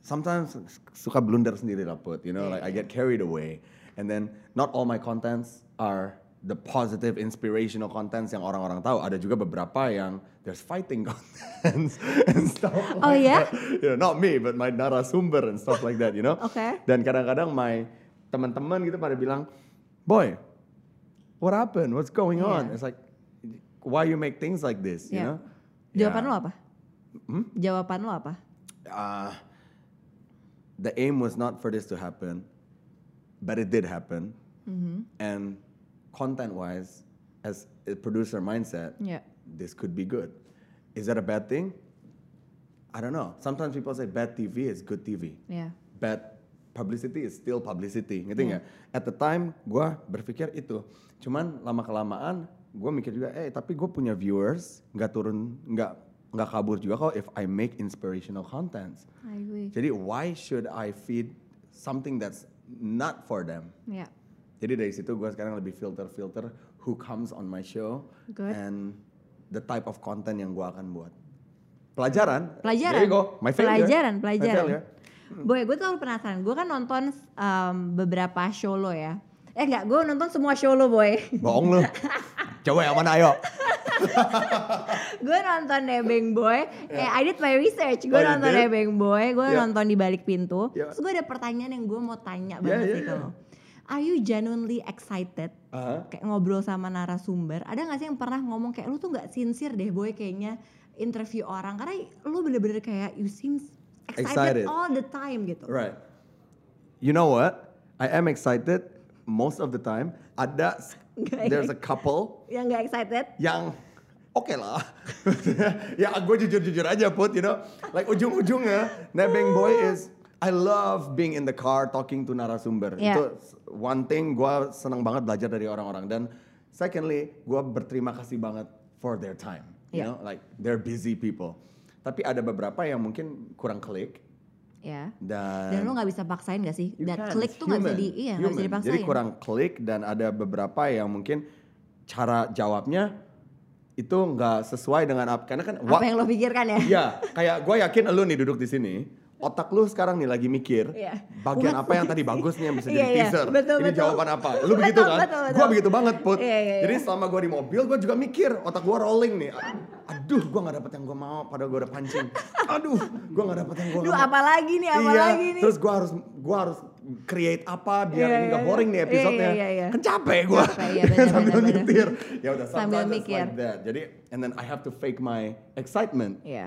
Speaker 2: Sometimes suka blunder sendiri lah put. You know, like I get carried away. And then not all my contents are the positive inspirational contents yang orang-orang tahu. Ada juga beberapa yang there's fighting contents and stuff.
Speaker 1: Oh,
Speaker 2: like
Speaker 1: ya?
Speaker 2: that. You know, not me, but my narasumber and stuff like that. You know.
Speaker 1: Oke.
Speaker 2: Dan kadang-kadang my teman-teman gitu pada bilang, boy, what happened? What's going
Speaker 1: Yeah.
Speaker 2: on? It's like, why you make things like this? You
Speaker 1: Yeah.
Speaker 2: know?
Speaker 1: Jawaban
Speaker 2: Yeah.
Speaker 1: lo apa?
Speaker 2: Ya. Hmm?
Speaker 1: Jawaban lo apa?
Speaker 2: uh, the aim was not for this to happen, but it did happen.
Speaker 1: Mm-hmm.
Speaker 2: And content wise, as a producer mindset,
Speaker 1: Ya.
Speaker 2: this could be good. Is that a bad thing? I don't know. Sometimes people say bad TV is good TV.
Speaker 1: Ya.
Speaker 2: Bad publicity is still publicity. Ngerti nggak?
Speaker 1: Hmm.
Speaker 2: At the time, gue berpikir itu. Cuman lama kelamaan, gue mikir juga, eh tapi gue punya viewers nggak turun, nggak nggak kabur juga kalau if I make inspirational contents.
Speaker 1: I agree.
Speaker 2: Jadi why should I feed something that's not for them?
Speaker 1: Ya.
Speaker 2: Jadi dari situ gue sekarang lebih filter-filter who comes on my show
Speaker 1: Good.
Speaker 2: and the type of content yang gue akan buat. Pelajaran.
Speaker 1: Pelajaran.
Speaker 2: There you go. My failure.
Speaker 1: Pelajaran,
Speaker 2: My ya. Hmm.
Speaker 1: pelajaran.
Speaker 2: failure.
Speaker 1: Boy, gue tuh penasaran. Gue kan nonton um, beberapa show lo ya. Eh enggak, gue nonton semua show lo, Boy.
Speaker 2: Bohong lu. Coba yang mana ayo.
Speaker 1: gue nonton Nebeng Boy. Eh, I did my research. Gue
Speaker 2: Iya. Oh, you
Speaker 1: nonton
Speaker 2: did? Iya.
Speaker 1: Nebeng Boy. Gue
Speaker 2: Yeah.
Speaker 1: nonton di balik pintu.
Speaker 2: Yeah.
Speaker 1: Terus gue ada pertanyaan yang gue mau tanya
Speaker 2: Yeah,
Speaker 1: banget
Speaker 2: yeah,
Speaker 1: sih ke
Speaker 2: yeah.
Speaker 1: lo. Are you genuinely excited?
Speaker 2: Aha.
Speaker 1: Kayak ngobrol sama narasumber. Ada gak sih yang pernah ngomong kayak lu tuh gak sincere deh Boy kayaknya interview orang. Karena lu bener-bener kayak you seem excited,
Speaker 2: Excited.
Speaker 1: all the time gitu.
Speaker 2: Right. You know what? I am excited most of the time. Ada
Speaker 1: Nggak
Speaker 2: there's a couple
Speaker 1: Yang gak excited?
Speaker 2: yang oke lah. ya gue jujur-jujur aja put, you know. Like ujung-ujungnya, nebeng boy is I love being in the car talking to narasumber.
Speaker 1: Yeah.
Speaker 2: Itu s- one thing gue seneng banget belajar dari orang-orang dan secondly gue berterima kasih banget for their time. You
Speaker 1: Yeah.
Speaker 2: know, like they're busy people. Tapi ada beberapa yang mungkin kurang klik
Speaker 1: Ya.
Speaker 2: dan
Speaker 1: Dan lu gak bisa paksain gak sih?
Speaker 2: You
Speaker 1: Dan
Speaker 2: can,
Speaker 1: klik
Speaker 2: it's
Speaker 1: tuh gak bisa
Speaker 2: human,
Speaker 1: di, iya, nggak bisa
Speaker 2: human.
Speaker 1: dipaksain.
Speaker 2: Jadi kurang klik dan ada beberapa yang mungkin cara jawabnya itu nggak sesuai dengan apa karena kan
Speaker 1: Apa yang lo pikirkan ya?
Speaker 2: ya kayak gue yakin lu nih duduk di sini otak lu sekarang nih lagi mikir
Speaker 1: Iya.
Speaker 2: bagian
Speaker 1: What?
Speaker 2: apa yang tadi bagus nih yang bisa
Speaker 1: Iya,
Speaker 2: jadi
Speaker 1: iya.
Speaker 2: teaser
Speaker 1: Betul,
Speaker 2: ini
Speaker 1: betul.
Speaker 2: jawaban apa lu begitu
Speaker 1: Betul,
Speaker 2: kan
Speaker 1: betul, betul.
Speaker 2: gue begitu banget put
Speaker 1: Iya, iya,
Speaker 2: jadi selama gue di mobil gue juga mikir otak gue rolling nih aduh gue nggak dapet yang gue mau padahal gue udah pancing aduh gue nggak dapet yang gue
Speaker 1: Duh
Speaker 2: mau
Speaker 1: apa lagi nih, apa
Speaker 2: iya,
Speaker 1: lagi nih?
Speaker 2: terus gua harus gua harus create apa biar
Speaker 1: Iya,
Speaker 2: ini nggak
Speaker 1: iya,
Speaker 2: boring nih
Speaker 1: iya. Iya,
Speaker 2: episodenya.
Speaker 1: iya, iya.
Speaker 2: Kan capek gua.
Speaker 1: Capek, iya, benar,
Speaker 2: sambil
Speaker 1: benar, benar.
Speaker 2: nyetir. Ya udah
Speaker 1: Sambil
Speaker 2: sometimes it's
Speaker 1: mikir.
Speaker 2: like that. Jadi and then I have to fake my excitement.
Speaker 1: Iya,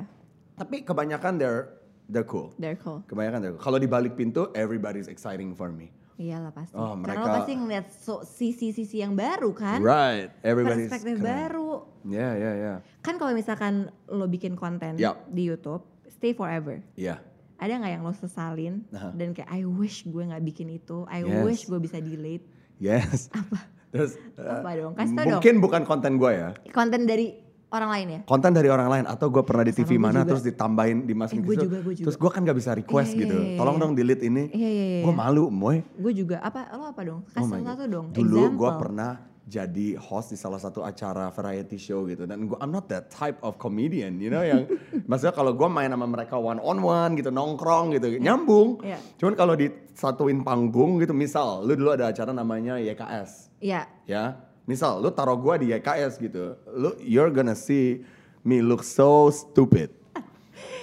Speaker 2: Tapi kebanyakan they're they're cool.
Speaker 1: they're cool.
Speaker 2: Kebanyakan they're cool. Kalau di balik pintu everybody's exciting for me.
Speaker 1: Iyalah Iya pasti. Karena
Speaker 2: Oh,
Speaker 1: lo
Speaker 2: mereka-
Speaker 1: pasti ngeliat so- sisi-sisi yang baru kan?
Speaker 2: Right. Everybody's
Speaker 1: Perspektif
Speaker 2: keren.
Speaker 1: baru.
Speaker 2: Yeah, yeah, yeah.
Speaker 1: Kan kalau misalkan lo bikin konten
Speaker 2: Yap.
Speaker 1: di YouTube, stay forever.
Speaker 2: Yeah.
Speaker 1: Ada nggak yang lo sesalin
Speaker 2: Aha.
Speaker 1: dan kayak I wish gue nggak bikin itu, I
Speaker 2: Uh-huh. Yes.
Speaker 1: wish gue bisa delete
Speaker 2: Yes.
Speaker 1: apa
Speaker 2: Terus
Speaker 1: Apa
Speaker 2: eh,
Speaker 1: dong? Kasih tau dong.
Speaker 2: mungkin bukan konten gua ya.
Speaker 1: konten dari orang lain ya?
Speaker 2: konten dari orang lain atau gue pernah di
Speaker 1: Sama
Speaker 2: TV
Speaker 1: gua
Speaker 2: mana
Speaker 1: juga.
Speaker 2: terus ditambahin dimasukin
Speaker 1: Eh,
Speaker 2: ke
Speaker 1: gua
Speaker 2: situ.
Speaker 1: juga, gua juga.
Speaker 2: terus gue kan gak bisa request
Speaker 1: Iya, iya,
Speaker 2: gitu
Speaker 1: iya, iya,
Speaker 2: tolong
Speaker 1: iya.
Speaker 2: dong delete ini
Speaker 1: Iya, iya, iya.
Speaker 2: gue malu moy
Speaker 1: Gue juga apa lo apa dong? Kasih
Speaker 2: Oh my
Speaker 1: salah
Speaker 2: God.
Speaker 1: satu dong.
Speaker 2: dulu
Speaker 1: example.
Speaker 2: gue pernah jadi host di salah satu acara variety show gitu dan gue I'm not that type of comedian you know yang maksudnya kalau gue main sama mereka one on one gitu nongkrong gitu nyambung
Speaker 1: Iya.
Speaker 2: cuman kalau disatuin panggung gitu misal lu dulu ada acara namanya YKS
Speaker 1: Iya.
Speaker 2: ya misal lu taruh gua di YKS gitu lu you're gonna see me look so stupid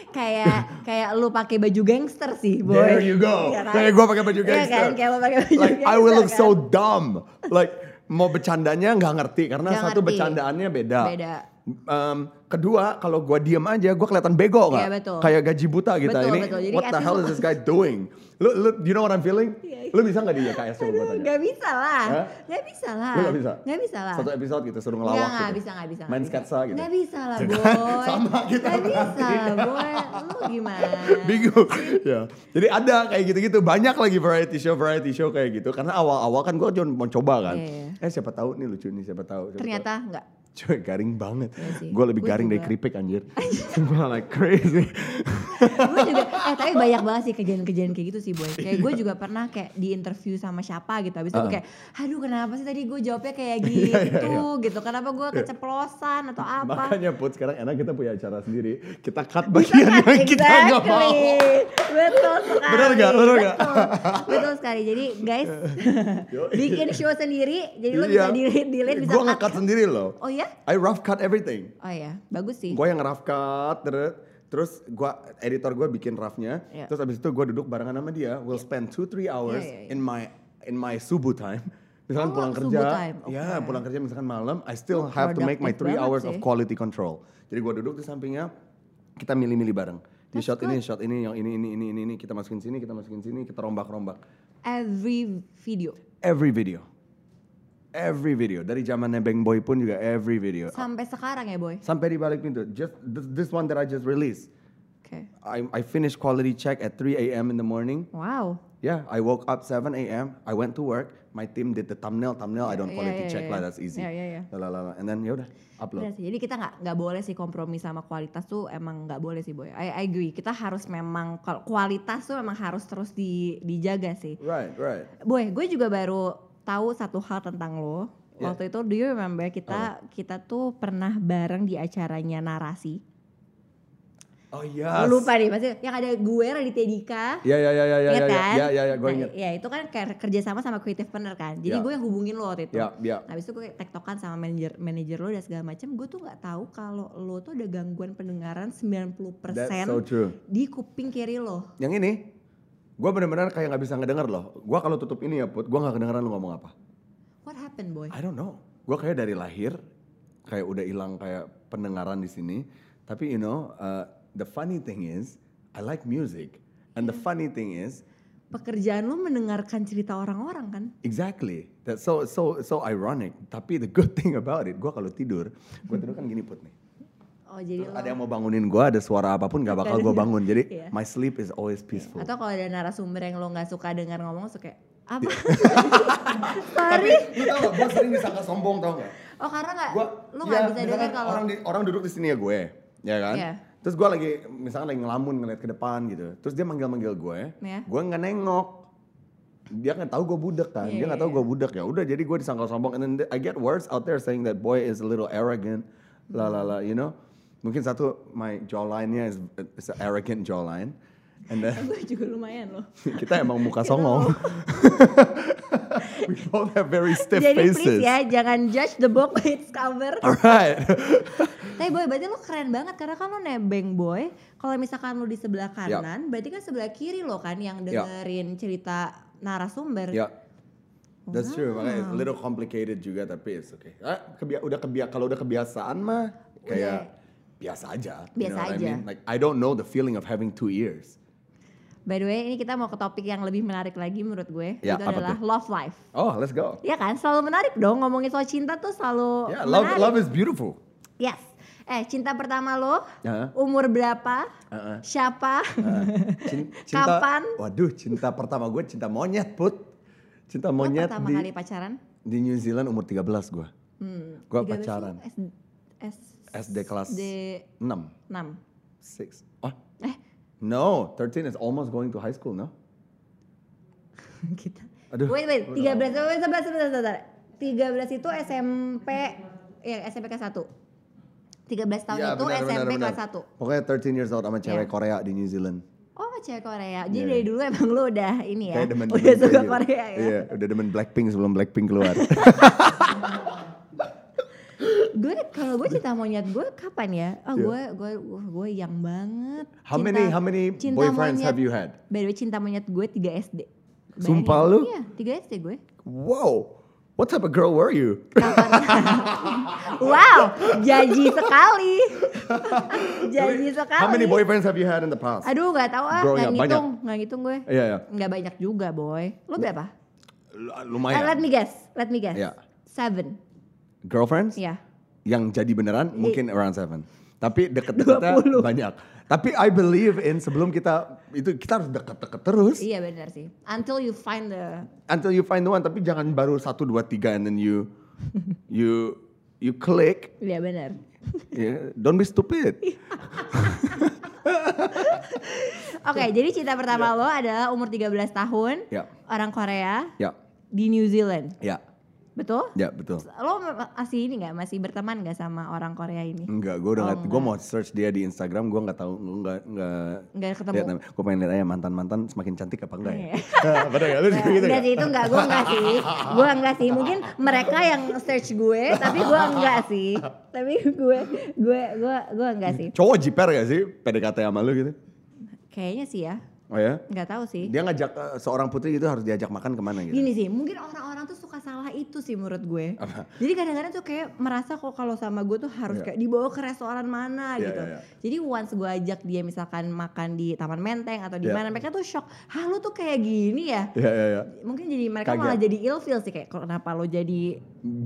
Speaker 1: Kayak kayak lu pakai baju gangster sih, boy.
Speaker 2: there you go
Speaker 1: Iya kan?
Speaker 2: kayak gua pakai baju
Speaker 1: Iya
Speaker 2: gangster
Speaker 1: kan? Kayak lo pakai baju
Speaker 2: like I
Speaker 1: gangster,
Speaker 2: will look
Speaker 1: kan?
Speaker 2: so dumb like mau bercandanya nggak ngerti karena
Speaker 1: Nggak
Speaker 2: satu
Speaker 1: ngerti.
Speaker 2: bercandaannya beda
Speaker 1: Beda.
Speaker 2: Em, kedua kalau gua diem aja gua kelihatan bego nggak
Speaker 1: Iya, betul.
Speaker 2: kayak gaji buta gitu
Speaker 1: Betul,
Speaker 2: ini
Speaker 1: betul. Jadi
Speaker 2: what the
Speaker 1: at
Speaker 2: hell is
Speaker 1: least-
Speaker 2: this guy doing lu lu you know what I'm feeling
Speaker 1: Iya, iya.
Speaker 2: lu bisa nggak di YKS coba gua
Speaker 1: Aduh,
Speaker 2: tanya
Speaker 1: gak bisa lah.
Speaker 2: Hah?
Speaker 1: Gak bisa lah.
Speaker 2: Lu gak bisa?
Speaker 1: Gak bisa lah.
Speaker 2: Satu episode gitu suruh
Speaker 1: Nggak,
Speaker 2: ngelawak
Speaker 1: nggak
Speaker 2: gitu.
Speaker 1: bisa, nggak bisa. nggak
Speaker 2: Main
Speaker 1: bisa.
Speaker 2: sketsa gitu.
Speaker 1: Nggak bisa lah,
Speaker 2: Jangan,
Speaker 1: boy.
Speaker 2: sama kita
Speaker 1: Nggak bisa
Speaker 2: berarti.
Speaker 1: lah, boy. Lu gimana?
Speaker 2: Bingung. ya. Jadi ada kayak gitu-gitu banyak lagi variety show variety show kayak gitu karena awal-awal kan gue cuma mau coba kan.
Speaker 1: Iya,
Speaker 2: Eh siapa tahu nih lucu nih siapa tahu. siapa
Speaker 1: Ternyata nggak.
Speaker 2: tahu. Cuy, garing banget.
Speaker 1: Iya sih.
Speaker 2: Gue lebih
Speaker 1: Gua
Speaker 2: garing dari
Speaker 1: juga.
Speaker 2: keripik anjir. gue like crazy.
Speaker 1: gue juga, eh tapi banyak banget sih kejadian-kejadian kayak gitu sih boy.
Speaker 2: Iya.
Speaker 1: Kayak gue juga pernah kayak di interview sama siapa gitu. Habis itu
Speaker 2: Uh-uh.
Speaker 1: kayak, aduh kenapa sih tadi gue jawabnya kayak
Speaker 2: iya,
Speaker 1: gitu gitu. Kenapa gue keceplosan atau apa.
Speaker 2: Makanya put sekarang enak kita puya acara sendiri. Kita cut
Speaker 1: Bisa
Speaker 2: bagian
Speaker 1: kan?
Speaker 2: yang kita nggak mau.
Speaker 1: Exactly. Betul sekali.
Speaker 2: Benar nggak? Benar nggak?
Speaker 1: Betul. Betul sekali. Jadi guys,
Speaker 2: Yoi.
Speaker 1: bikin show sendiri. Jadi lo
Speaker 2: Iya.
Speaker 1: bisa delete, delete, bisa
Speaker 2: Gue ngekat sendiri loh.
Speaker 1: Oh ya?
Speaker 2: I rough cut everything.
Speaker 1: Oh ya, bagus sih.
Speaker 2: gue yang rough cut terus terus gua editor gue bikin roughnya
Speaker 1: Iya. Ya.
Speaker 2: terus abis itu gue duduk barengan sama dia we'll spend two three hours
Speaker 1: Iya, iya, iya.
Speaker 2: in my in my subuh time
Speaker 1: ya, Oh,
Speaker 2: misalkan pulang
Speaker 1: subuh
Speaker 2: kerja,
Speaker 1: time,
Speaker 2: ya
Speaker 1: oke.
Speaker 2: pulang kerja misalkan malam, I still have to make my
Speaker 1: productive
Speaker 2: three
Speaker 1: banget
Speaker 2: hours
Speaker 1: sih.
Speaker 2: of quality control. Jadi gua duduk di sampingnya, kita milih-milih bareng. Di shot ini, shot ini, yang ini, ini, ini, ini, ini, kita masukin sini, kita masukin sini, kita rombak-rombak.
Speaker 1: Every video
Speaker 2: Every video, every video dari zaman nebeng boy pun juga every video.
Speaker 1: sampai sekarang ya boy.
Speaker 2: Sampai di balik pintu, just this, this one that I just released.
Speaker 1: Oke.
Speaker 2: I, I finished quality check at 3 a.m. in the morning.
Speaker 1: Wow.
Speaker 2: Yeah, I woke up 7 a.m. I went to work. My team did the thumbnail. Thumbnail, I don't
Speaker 1: yeah,
Speaker 2: quality
Speaker 1: yeah,
Speaker 2: check
Speaker 1: yeah,
Speaker 2: lah.
Speaker 1: yeah.
Speaker 2: That's easy.
Speaker 1: Yeah, yeah, yeah.
Speaker 2: La, la, la, la. And then yaudah, upload.
Speaker 1: Bener sih. Jadi kita nggak nggak boleh sih kompromi sama kualitas tuh emang nggak boleh sih boy. I, I agree. Kita harus memang kalau kualitas tuh memang harus terus di, dijaga sih.
Speaker 2: Right, right.
Speaker 1: Boy, gue juga baru tahu satu hal tentang lo.
Speaker 2: Yeah.
Speaker 1: Waktu itu do you remember kita kita tuh pernah bareng di acaranya narasi.
Speaker 2: Oh
Speaker 1: Gue
Speaker 2: yes.
Speaker 1: Lupa nih pasti yang ada gue Raditya Dika.
Speaker 2: Ya, ya, ya, ya, ya,
Speaker 1: Ingat
Speaker 2: ya,
Speaker 1: kan?
Speaker 2: ya, ya, ya, gue
Speaker 1: Nah,
Speaker 2: inget.
Speaker 1: ya, itu kan kayak kerjasama sama creative partner kan. Jadi
Speaker 2: Ya.
Speaker 1: gue yang hubungin lo waktu itu. Nah,
Speaker 2: Ya, ya.
Speaker 1: Habis itu gue kayak tektokan sama manajer manajer lo dan segala macam. Gue tuh nggak tahu kalau lo tuh ada gangguan pendengaran 90%
Speaker 2: That's so true.
Speaker 1: di kuping kiri lo.
Speaker 2: Yang ini, gue benar-benar kayak nggak bisa ngedenger loh. Gue kalau tutup ini ya put, gue nggak kedengeran lu ngomong apa.
Speaker 1: What happened, boy?
Speaker 2: I don't know. Gue kayak dari lahir kayak udah hilang kayak pendengaran di sini. Tapi you know, uh, the funny thing is, I like music. And the funny thing is,
Speaker 1: Pekerjaan lo mendengarkan cerita orang-orang kan?
Speaker 2: Exactly. That's so so so ironic. Tapi the good thing about it, gue kalau tidur, gue tidur kan gini put nih.
Speaker 1: Oh, jadi lo
Speaker 2: Terus ada yang mau bangunin gue, ada suara apapun gak bakal gue bangun. Jadi
Speaker 1: Iya.
Speaker 2: my sleep is always peaceful.
Speaker 1: atau kalau ada narasumber yang lo nggak suka dengar ngomong suka kayak, apa?
Speaker 2: Iya.
Speaker 1: Sorry.
Speaker 2: Lu tau gak, gue sering disangka sombong tau gak?
Speaker 1: Oh, karena nggak
Speaker 2: Gua,
Speaker 1: lo nggak
Speaker 2: iya,
Speaker 1: bisa
Speaker 2: misalkan
Speaker 1: dengar kalau
Speaker 2: orang di- orang duduk di sini ya gue, ya kan?
Speaker 1: Iya.
Speaker 2: Terus gue lagi misalkan lagi ngelamun ngeliat ke depan gitu. Terus dia manggil-manggil gue,
Speaker 1: Iya.
Speaker 2: gue nggak nengok. Dia nggak tahu gue budek kan,
Speaker 1: Iya,
Speaker 2: dia nggak
Speaker 1: iya,
Speaker 2: tahu gue budek ya. Udah jadi gue disangka sombong. And then th- I get words out there saying that boy is a little arrogant, la la la, you know. Mungkin satu my jawline-nya is, is an arrogant jawline. And then
Speaker 1: gue juga lumayan loh.
Speaker 2: kita emang muka songong. We both have very stiff
Speaker 1: Jadi please
Speaker 2: faces.
Speaker 1: ya jangan judge the book by its cover.
Speaker 2: Alright.
Speaker 1: Tapi boy berarti lo keren banget karena kan lo nebeng boy. Kalau misalkan lo di sebelah
Speaker 2: Iya.
Speaker 1: kanan, berarti kan sebelah kiri lo kan yang
Speaker 2: Ya.
Speaker 1: dengerin cerita narasumber.
Speaker 2: Ya. That's true, makanya it's a little complicated juga tapi it's okay. Ah, kebia- udah kebia kalau udah kebiasaan mah kayak biasa aja.
Speaker 1: Biasa
Speaker 2: what
Speaker 1: aja.
Speaker 2: I mean? Like I don't know the feeling of having two ears.
Speaker 1: By the way, ini kita mau ke topik yang lebih menarik lagi menurut gue.
Speaker 2: Ya,
Speaker 1: itu
Speaker 2: apa
Speaker 1: adalah
Speaker 2: tuh?
Speaker 1: love life.
Speaker 2: Oh, let's go.
Speaker 1: Ya kan, selalu menarik dong ngomongin soal cinta tuh selalu
Speaker 2: Yeah, Iya, love
Speaker 1: menarik.
Speaker 2: love is beautiful.
Speaker 1: Yes. Eh, cinta pertama lo
Speaker 2: Ya.
Speaker 1: umur berapa?
Speaker 2: Uh-uh.
Speaker 1: Siapa?
Speaker 2: Ah, Cin- cinta,
Speaker 1: Kapan?
Speaker 2: Waduh, cinta pertama gue cinta monyet, Put. Cinta
Speaker 1: Lo
Speaker 2: monyet
Speaker 1: pertama
Speaker 2: di,
Speaker 1: kali pacaran?
Speaker 2: di New Zealand umur 13 gue.
Speaker 1: Hmm.
Speaker 2: Gua
Speaker 1: 13
Speaker 2: pacaran.
Speaker 1: tuh S- S-
Speaker 2: SD kelas
Speaker 1: D
Speaker 2: 6,
Speaker 1: 6.
Speaker 2: 6. Oh,
Speaker 1: Eh,
Speaker 2: no, 13 is almost going to high school, no?
Speaker 1: kita.
Speaker 2: Aduh.
Speaker 1: Gitu. Wait, wait, 13. Wait, wait, sebentar, sebentar, sebentar. 13 itu SMP ya SMP kelas 1. 13 tahun
Speaker 2: Ya,
Speaker 1: itu
Speaker 2: benar, benar,
Speaker 1: SMP
Speaker 2: benar.
Speaker 1: kelas 1.
Speaker 2: Pokoknya 13 years old sama
Speaker 1: Ya.
Speaker 2: cewek Korea di New Zealand.
Speaker 1: Oh, cewek Korea. Jadi
Speaker 2: Iya.
Speaker 1: dari dulu emang lu udah ini ya.
Speaker 2: Kayak demen
Speaker 1: udah
Speaker 2: demen
Speaker 1: suka
Speaker 2: Korea.
Speaker 1: Korea ya.
Speaker 2: Iya, udah demen Blackpink sebelum Blackpink keluar.
Speaker 1: Gue kalau gue cinta monyet gue kapan ya? Oh,
Speaker 2: Iya.
Speaker 1: gue gue wah, gue yang banget.
Speaker 2: how
Speaker 1: Cinta-
Speaker 2: many how many
Speaker 1: cinta
Speaker 2: boyfriends
Speaker 1: monyet.
Speaker 2: have you had?
Speaker 1: By the way, cinta monyet gue 3 SD. Bayangin.
Speaker 2: Sumpah lu?
Speaker 1: Iya, 3 SD gue.
Speaker 2: Wow. What type of girl were you?
Speaker 1: Wow, jaji sekali. jaji Ya, sekali.
Speaker 2: How many ya, boyfriends have you had in the past?
Speaker 1: Aduh gak tahu ah, gak
Speaker 2: Growing up,
Speaker 1: ngitung, gak ngitung gue.
Speaker 2: Iya, iya.
Speaker 1: Gak banyak juga boy. Lu berapa?
Speaker 2: L-
Speaker 1: Eh, let
Speaker 2: Lumayan.
Speaker 1: me guess, let me guess.
Speaker 2: Iya.
Speaker 1: Seven,
Speaker 2: Girlfriends
Speaker 1: ya.
Speaker 2: yang jadi
Speaker 1: Iya.
Speaker 2: beneran mungkin around seven. Tapi deket-deketnya
Speaker 1: 20.
Speaker 2: banyak. Tapi I believe in sebelum kita itu kita harus deket-deket terus
Speaker 1: Iya benar sih. Until you find the
Speaker 2: until you find the one. Tapi jangan baru satu dua tiga and then you you you click.
Speaker 1: Iya benar.
Speaker 2: Yeah, don't be stupid.
Speaker 1: Iya. Oke, jadi cinta pertama
Speaker 2: Iya.
Speaker 1: lo adalah umur 13 tahun,
Speaker 2: Ya.
Speaker 1: orang Korea
Speaker 2: Ya,
Speaker 1: di New Zealand.
Speaker 2: ya,
Speaker 1: Betul?
Speaker 2: ya betul.
Speaker 1: Lo masih ini nggak masih berteman nggak sama orang Korea ini?
Speaker 2: Enggak, gue udah
Speaker 1: Oh,
Speaker 2: nggak, gue mau search dia di Instagram, gue nggak tahu, nggak nggak
Speaker 1: Nggak ketemu.
Speaker 2: Gue pengen lihat aja mantan mantan semakin cantik apa enggak ya?
Speaker 1: Iya.
Speaker 2: Bener nggak? Lu juga gitu
Speaker 1: Enggak
Speaker 2: nggak?
Speaker 1: sih itu enggak, gue enggak sih Gue enggak sih, mungkin mereka yang search gue Tapi gue enggak sih Tapi gue, gue, gue, gue enggak sih
Speaker 2: Cowok jiper gak sih PDKT sama lu gitu?
Speaker 1: Kayaknya sih ya
Speaker 2: Oh ya?
Speaker 1: nggak tahu sih
Speaker 2: Dia ngajak eh, seorang putri itu harus diajak makan kemana gitu?
Speaker 1: Gini sih, mungkin orang-orang tuh suka salah itu sih menurut gue.
Speaker 2: Apa?
Speaker 1: Jadi kadang-kadang tuh kayak merasa kok kalau sama gue tuh harus
Speaker 2: Iya.
Speaker 1: kayak dibawa ke restoran mana
Speaker 2: Iya,
Speaker 1: gitu.
Speaker 2: iya, iya.
Speaker 1: Jadi once gue ajak dia misalkan makan di Taman Menteng atau di
Speaker 2: Iya.
Speaker 1: mana, mereka tuh shock. Hah lu tuh kayak gini ya?
Speaker 2: Iya iya iya.
Speaker 1: Mungkin jadi mereka
Speaker 2: Kaget.
Speaker 1: malah jadi ilfeel sih kayak kenapa lo jadi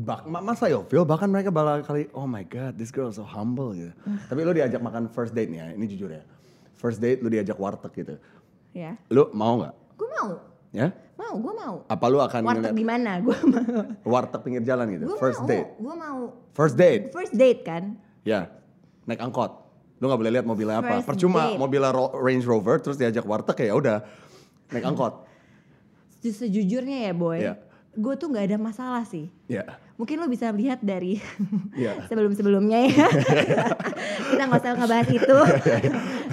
Speaker 2: Bak, ma- masa yo, Phil? Bahkan mereka bala kali, oh my god, this girl is so humble gitu. Tapi lu diajak makan first date nih ya, ini jujur ya. First date lu diajak warteg gitu.
Speaker 1: ya?
Speaker 2: Lu mau nggak?
Speaker 1: Gue mau,
Speaker 2: Ya?
Speaker 1: mau, gue mau.
Speaker 2: Apa lu akan
Speaker 1: Warteg
Speaker 2: ngeliat
Speaker 1: di mana? Gue mau.
Speaker 2: warteg pinggir jalan gitu?
Speaker 1: Gue
Speaker 2: first
Speaker 1: mau.
Speaker 2: date.
Speaker 1: Gue mau.
Speaker 2: First date.
Speaker 1: First date kan?
Speaker 2: Ya. Naik angkot. Lu nggak boleh lihat mobilnya apa.
Speaker 1: First
Speaker 2: Percuma
Speaker 1: date.
Speaker 2: mobilnya Ro- Range Rover terus diajak warteg ya udah. Naik angkot.
Speaker 1: Se- Sejujurnya ya boy,
Speaker 2: Iya.
Speaker 1: gue tuh nggak ada masalah sih.
Speaker 2: Ya.
Speaker 1: Mungkin lo bisa lihat dari
Speaker 2: Iya.
Speaker 1: sebelum-sebelumnya ya. Kita nggak usah ngebahas itu.
Speaker 2: Iya,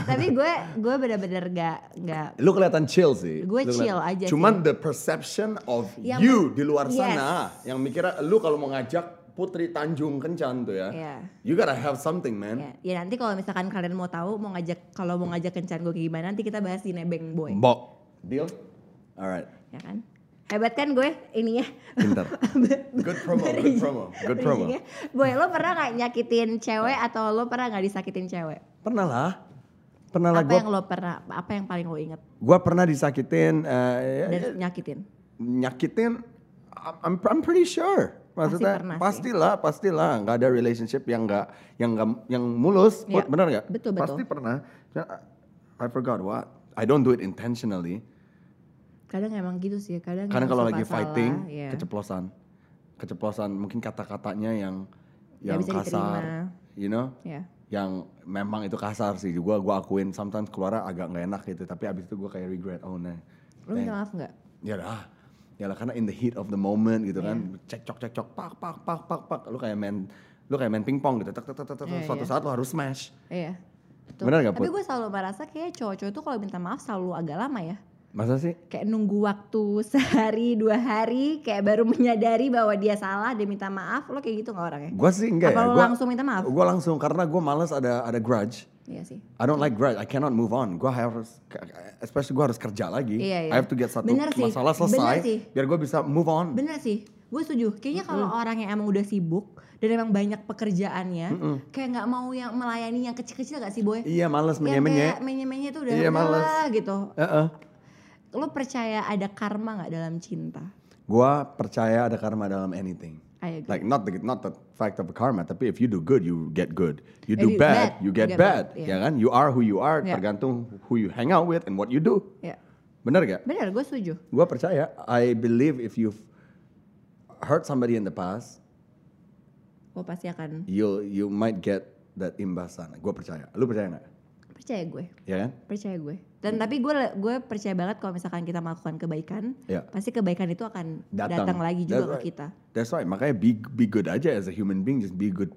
Speaker 1: Tapi gue gue bener-bener nggak nggak
Speaker 2: Lu kelihatan chill sih.
Speaker 1: Gue
Speaker 2: Lu
Speaker 1: chill aja
Speaker 2: kelihatan- Cuman the perception of
Speaker 1: Yang-
Speaker 2: you di luar
Speaker 1: Yes.
Speaker 2: sana yang mikirnya lu kalau mau ngajak Putri Tanjung Kencan tuh ya.
Speaker 1: Iya.
Speaker 2: You gotta have something, man.
Speaker 1: ya, ya nanti kalau misalkan kalian mau tahu mau ngajak kalau mau ngajak kencan gue kayak gimana nanti kita bahas di nebeng boy
Speaker 2: Mbok. Deal? Alright.
Speaker 1: ya kan hebat kan gue ininya
Speaker 2: Pinter. Good promo, good promo, good promo.
Speaker 1: Bridging-nya. boy lo pernah nggak nyakitin cewek atau lo pernah nggak disakitin cewek
Speaker 2: Pernah lah. Pernah lah
Speaker 1: apa
Speaker 2: gue
Speaker 1: yang lo pernah apa yang paling lo inget
Speaker 2: gue pernah disakitin eh, ya,
Speaker 1: dan nyakitin
Speaker 2: nyakitin I'm- I'm, I'm pretty sure maksudnya
Speaker 1: pernah sih.
Speaker 2: pastilah pastilah nggak ada relationship yang nggak yang nggak yang mulus
Speaker 1: Iya.
Speaker 2: benar nggak
Speaker 1: Betul, betul.
Speaker 2: pasti pernah Cuma, I forgot what I don't do it intentionally
Speaker 1: kadang emang gitu sih kadang
Speaker 2: karena
Speaker 1: emang
Speaker 2: kalau
Speaker 1: suka
Speaker 2: lagi
Speaker 1: salah,
Speaker 2: fighting
Speaker 1: ya.
Speaker 2: keceplosan keceplosan mungkin kata-katanya yang
Speaker 1: Nggak
Speaker 2: yang
Speaker 1: bisa
Speaker 2: kasar
Speaker 1: diterima.
Speaker 2: you know
Speaker 1: ya
Speaker 2: yang memang itu kasar sih juga gue akuin sometimes keluar agak nggak enak gitu tapi abis itu gue kayak regret oh nah
Speaker 1: lo minta maaf nggak
Speaker 2: ya lah ya lah karena in the heat of the moment gitu kan
Speaker 1: Iya.
Speaker 2: cekcok cekcok pak pak pak pak pak lu kayak main lu kayak main pingpong gitu tek tek tek tek tek,
Speaker 1: Iya,
Speaker 2: suatu
Speaker 1: iya.
Speaker 2: saat lu harus smash
Speaker 1: Iya. Betul.
Speaker 2: Benar nggak,
Speaker 1: Tapi
Speaker 2: Put?
Speaker 1: gue selalu merasa kayak cowok-cowok tuh kalau minta maaf selalu agak lama ya.
Speaker 2: masa sih
Speaker 1: Kayak nunggu waktu sehari dua hari kayak baru menyadari bahwa dia salah dia minta maaf lo kayak gitu nggak orangnya?
Speaker 2: gua sih enggak
Speaker 1: Apa
Speaker 2: ya
Speaker 1: lo
Speaker 2: gua
Speaker 1: langsung minta maaf?
Speaker 2: gua langsung karena gua males ada ada grudge
Speaker 1: Iya sih.
Speaker 2: I don't like grudge I cannot move on gua harus especially gua harus kerja lagi
Speaker 1: Iya, iya.
Speaker 2: I have to get satu
Speaker 1: Bener sih,
Speaker 2: masalah
Speaker 1: bener
Speaker 2: selesai
Speaker 1: sih.
Speaker 2: biar gua bisa move on
Speaker 1: Bener sih. Gue setuju. Kayaknya kalau orang yang emang udah sibuk dan emang banyak pekerjaannya, kayak nggak mau yang melayani yang kecil-kecil gak sih boy?
Speaker 2: iya males
Speaker 1: Yang
Speaker 2: menye-menye
Speaker 1: kayak menye-menye itu udah udah
Speaker 2: Iya, males.
Speaker 1: lah gitu.
Speaker 2: Heeh.
Speaker 1: Lo percaya ada karma nggak dalam cinta?
Speaker 2: gua percaya ada karma dalam anything
Speaker 1: I agree.
Speaker 2: like not the not the fact of karma tapi if you do good you get good you
Speaker 1: If
Speaker 2: do
Speaker 1: you
Speaker 2: bad,
Speaker 1: bad,
Speaker 2: you get, bad,
Speaker 1: yeah.
Speaker 2: ya kan you are who you are
Speaker 1: Yeah.
Speaker 2: tergantung who you hang out with and what you do
Speaker 1: Ya.
Speaker 2: bener gak
Speaker 1: Bener, gue setuju.
Speaker 2: gue percaya I believe if you've hurt somebody in the past
Speaker 1: Gue pasti akan
Speaker 2: you you might get that imbasan gue percaya lu percaya nggak
Speaker 1: percaya gue.
Speaker 2: ya kan
Speaker 1: percaya gue dan
Speaker 2: Hmm.
Speaker 1: tapi gue gue percaya banget kalau misalkan kita melakukan kebaikan
Speaker 2: Iya.
Speaker 1: pasti kebaikan itu akan
Speaker 2: datang
Speaker 1: datang, lagi juga ke
Speaker 2: That's right.
Speaker 1: kita
Speaker 2: that's right makanya be be good aja as a human being just be good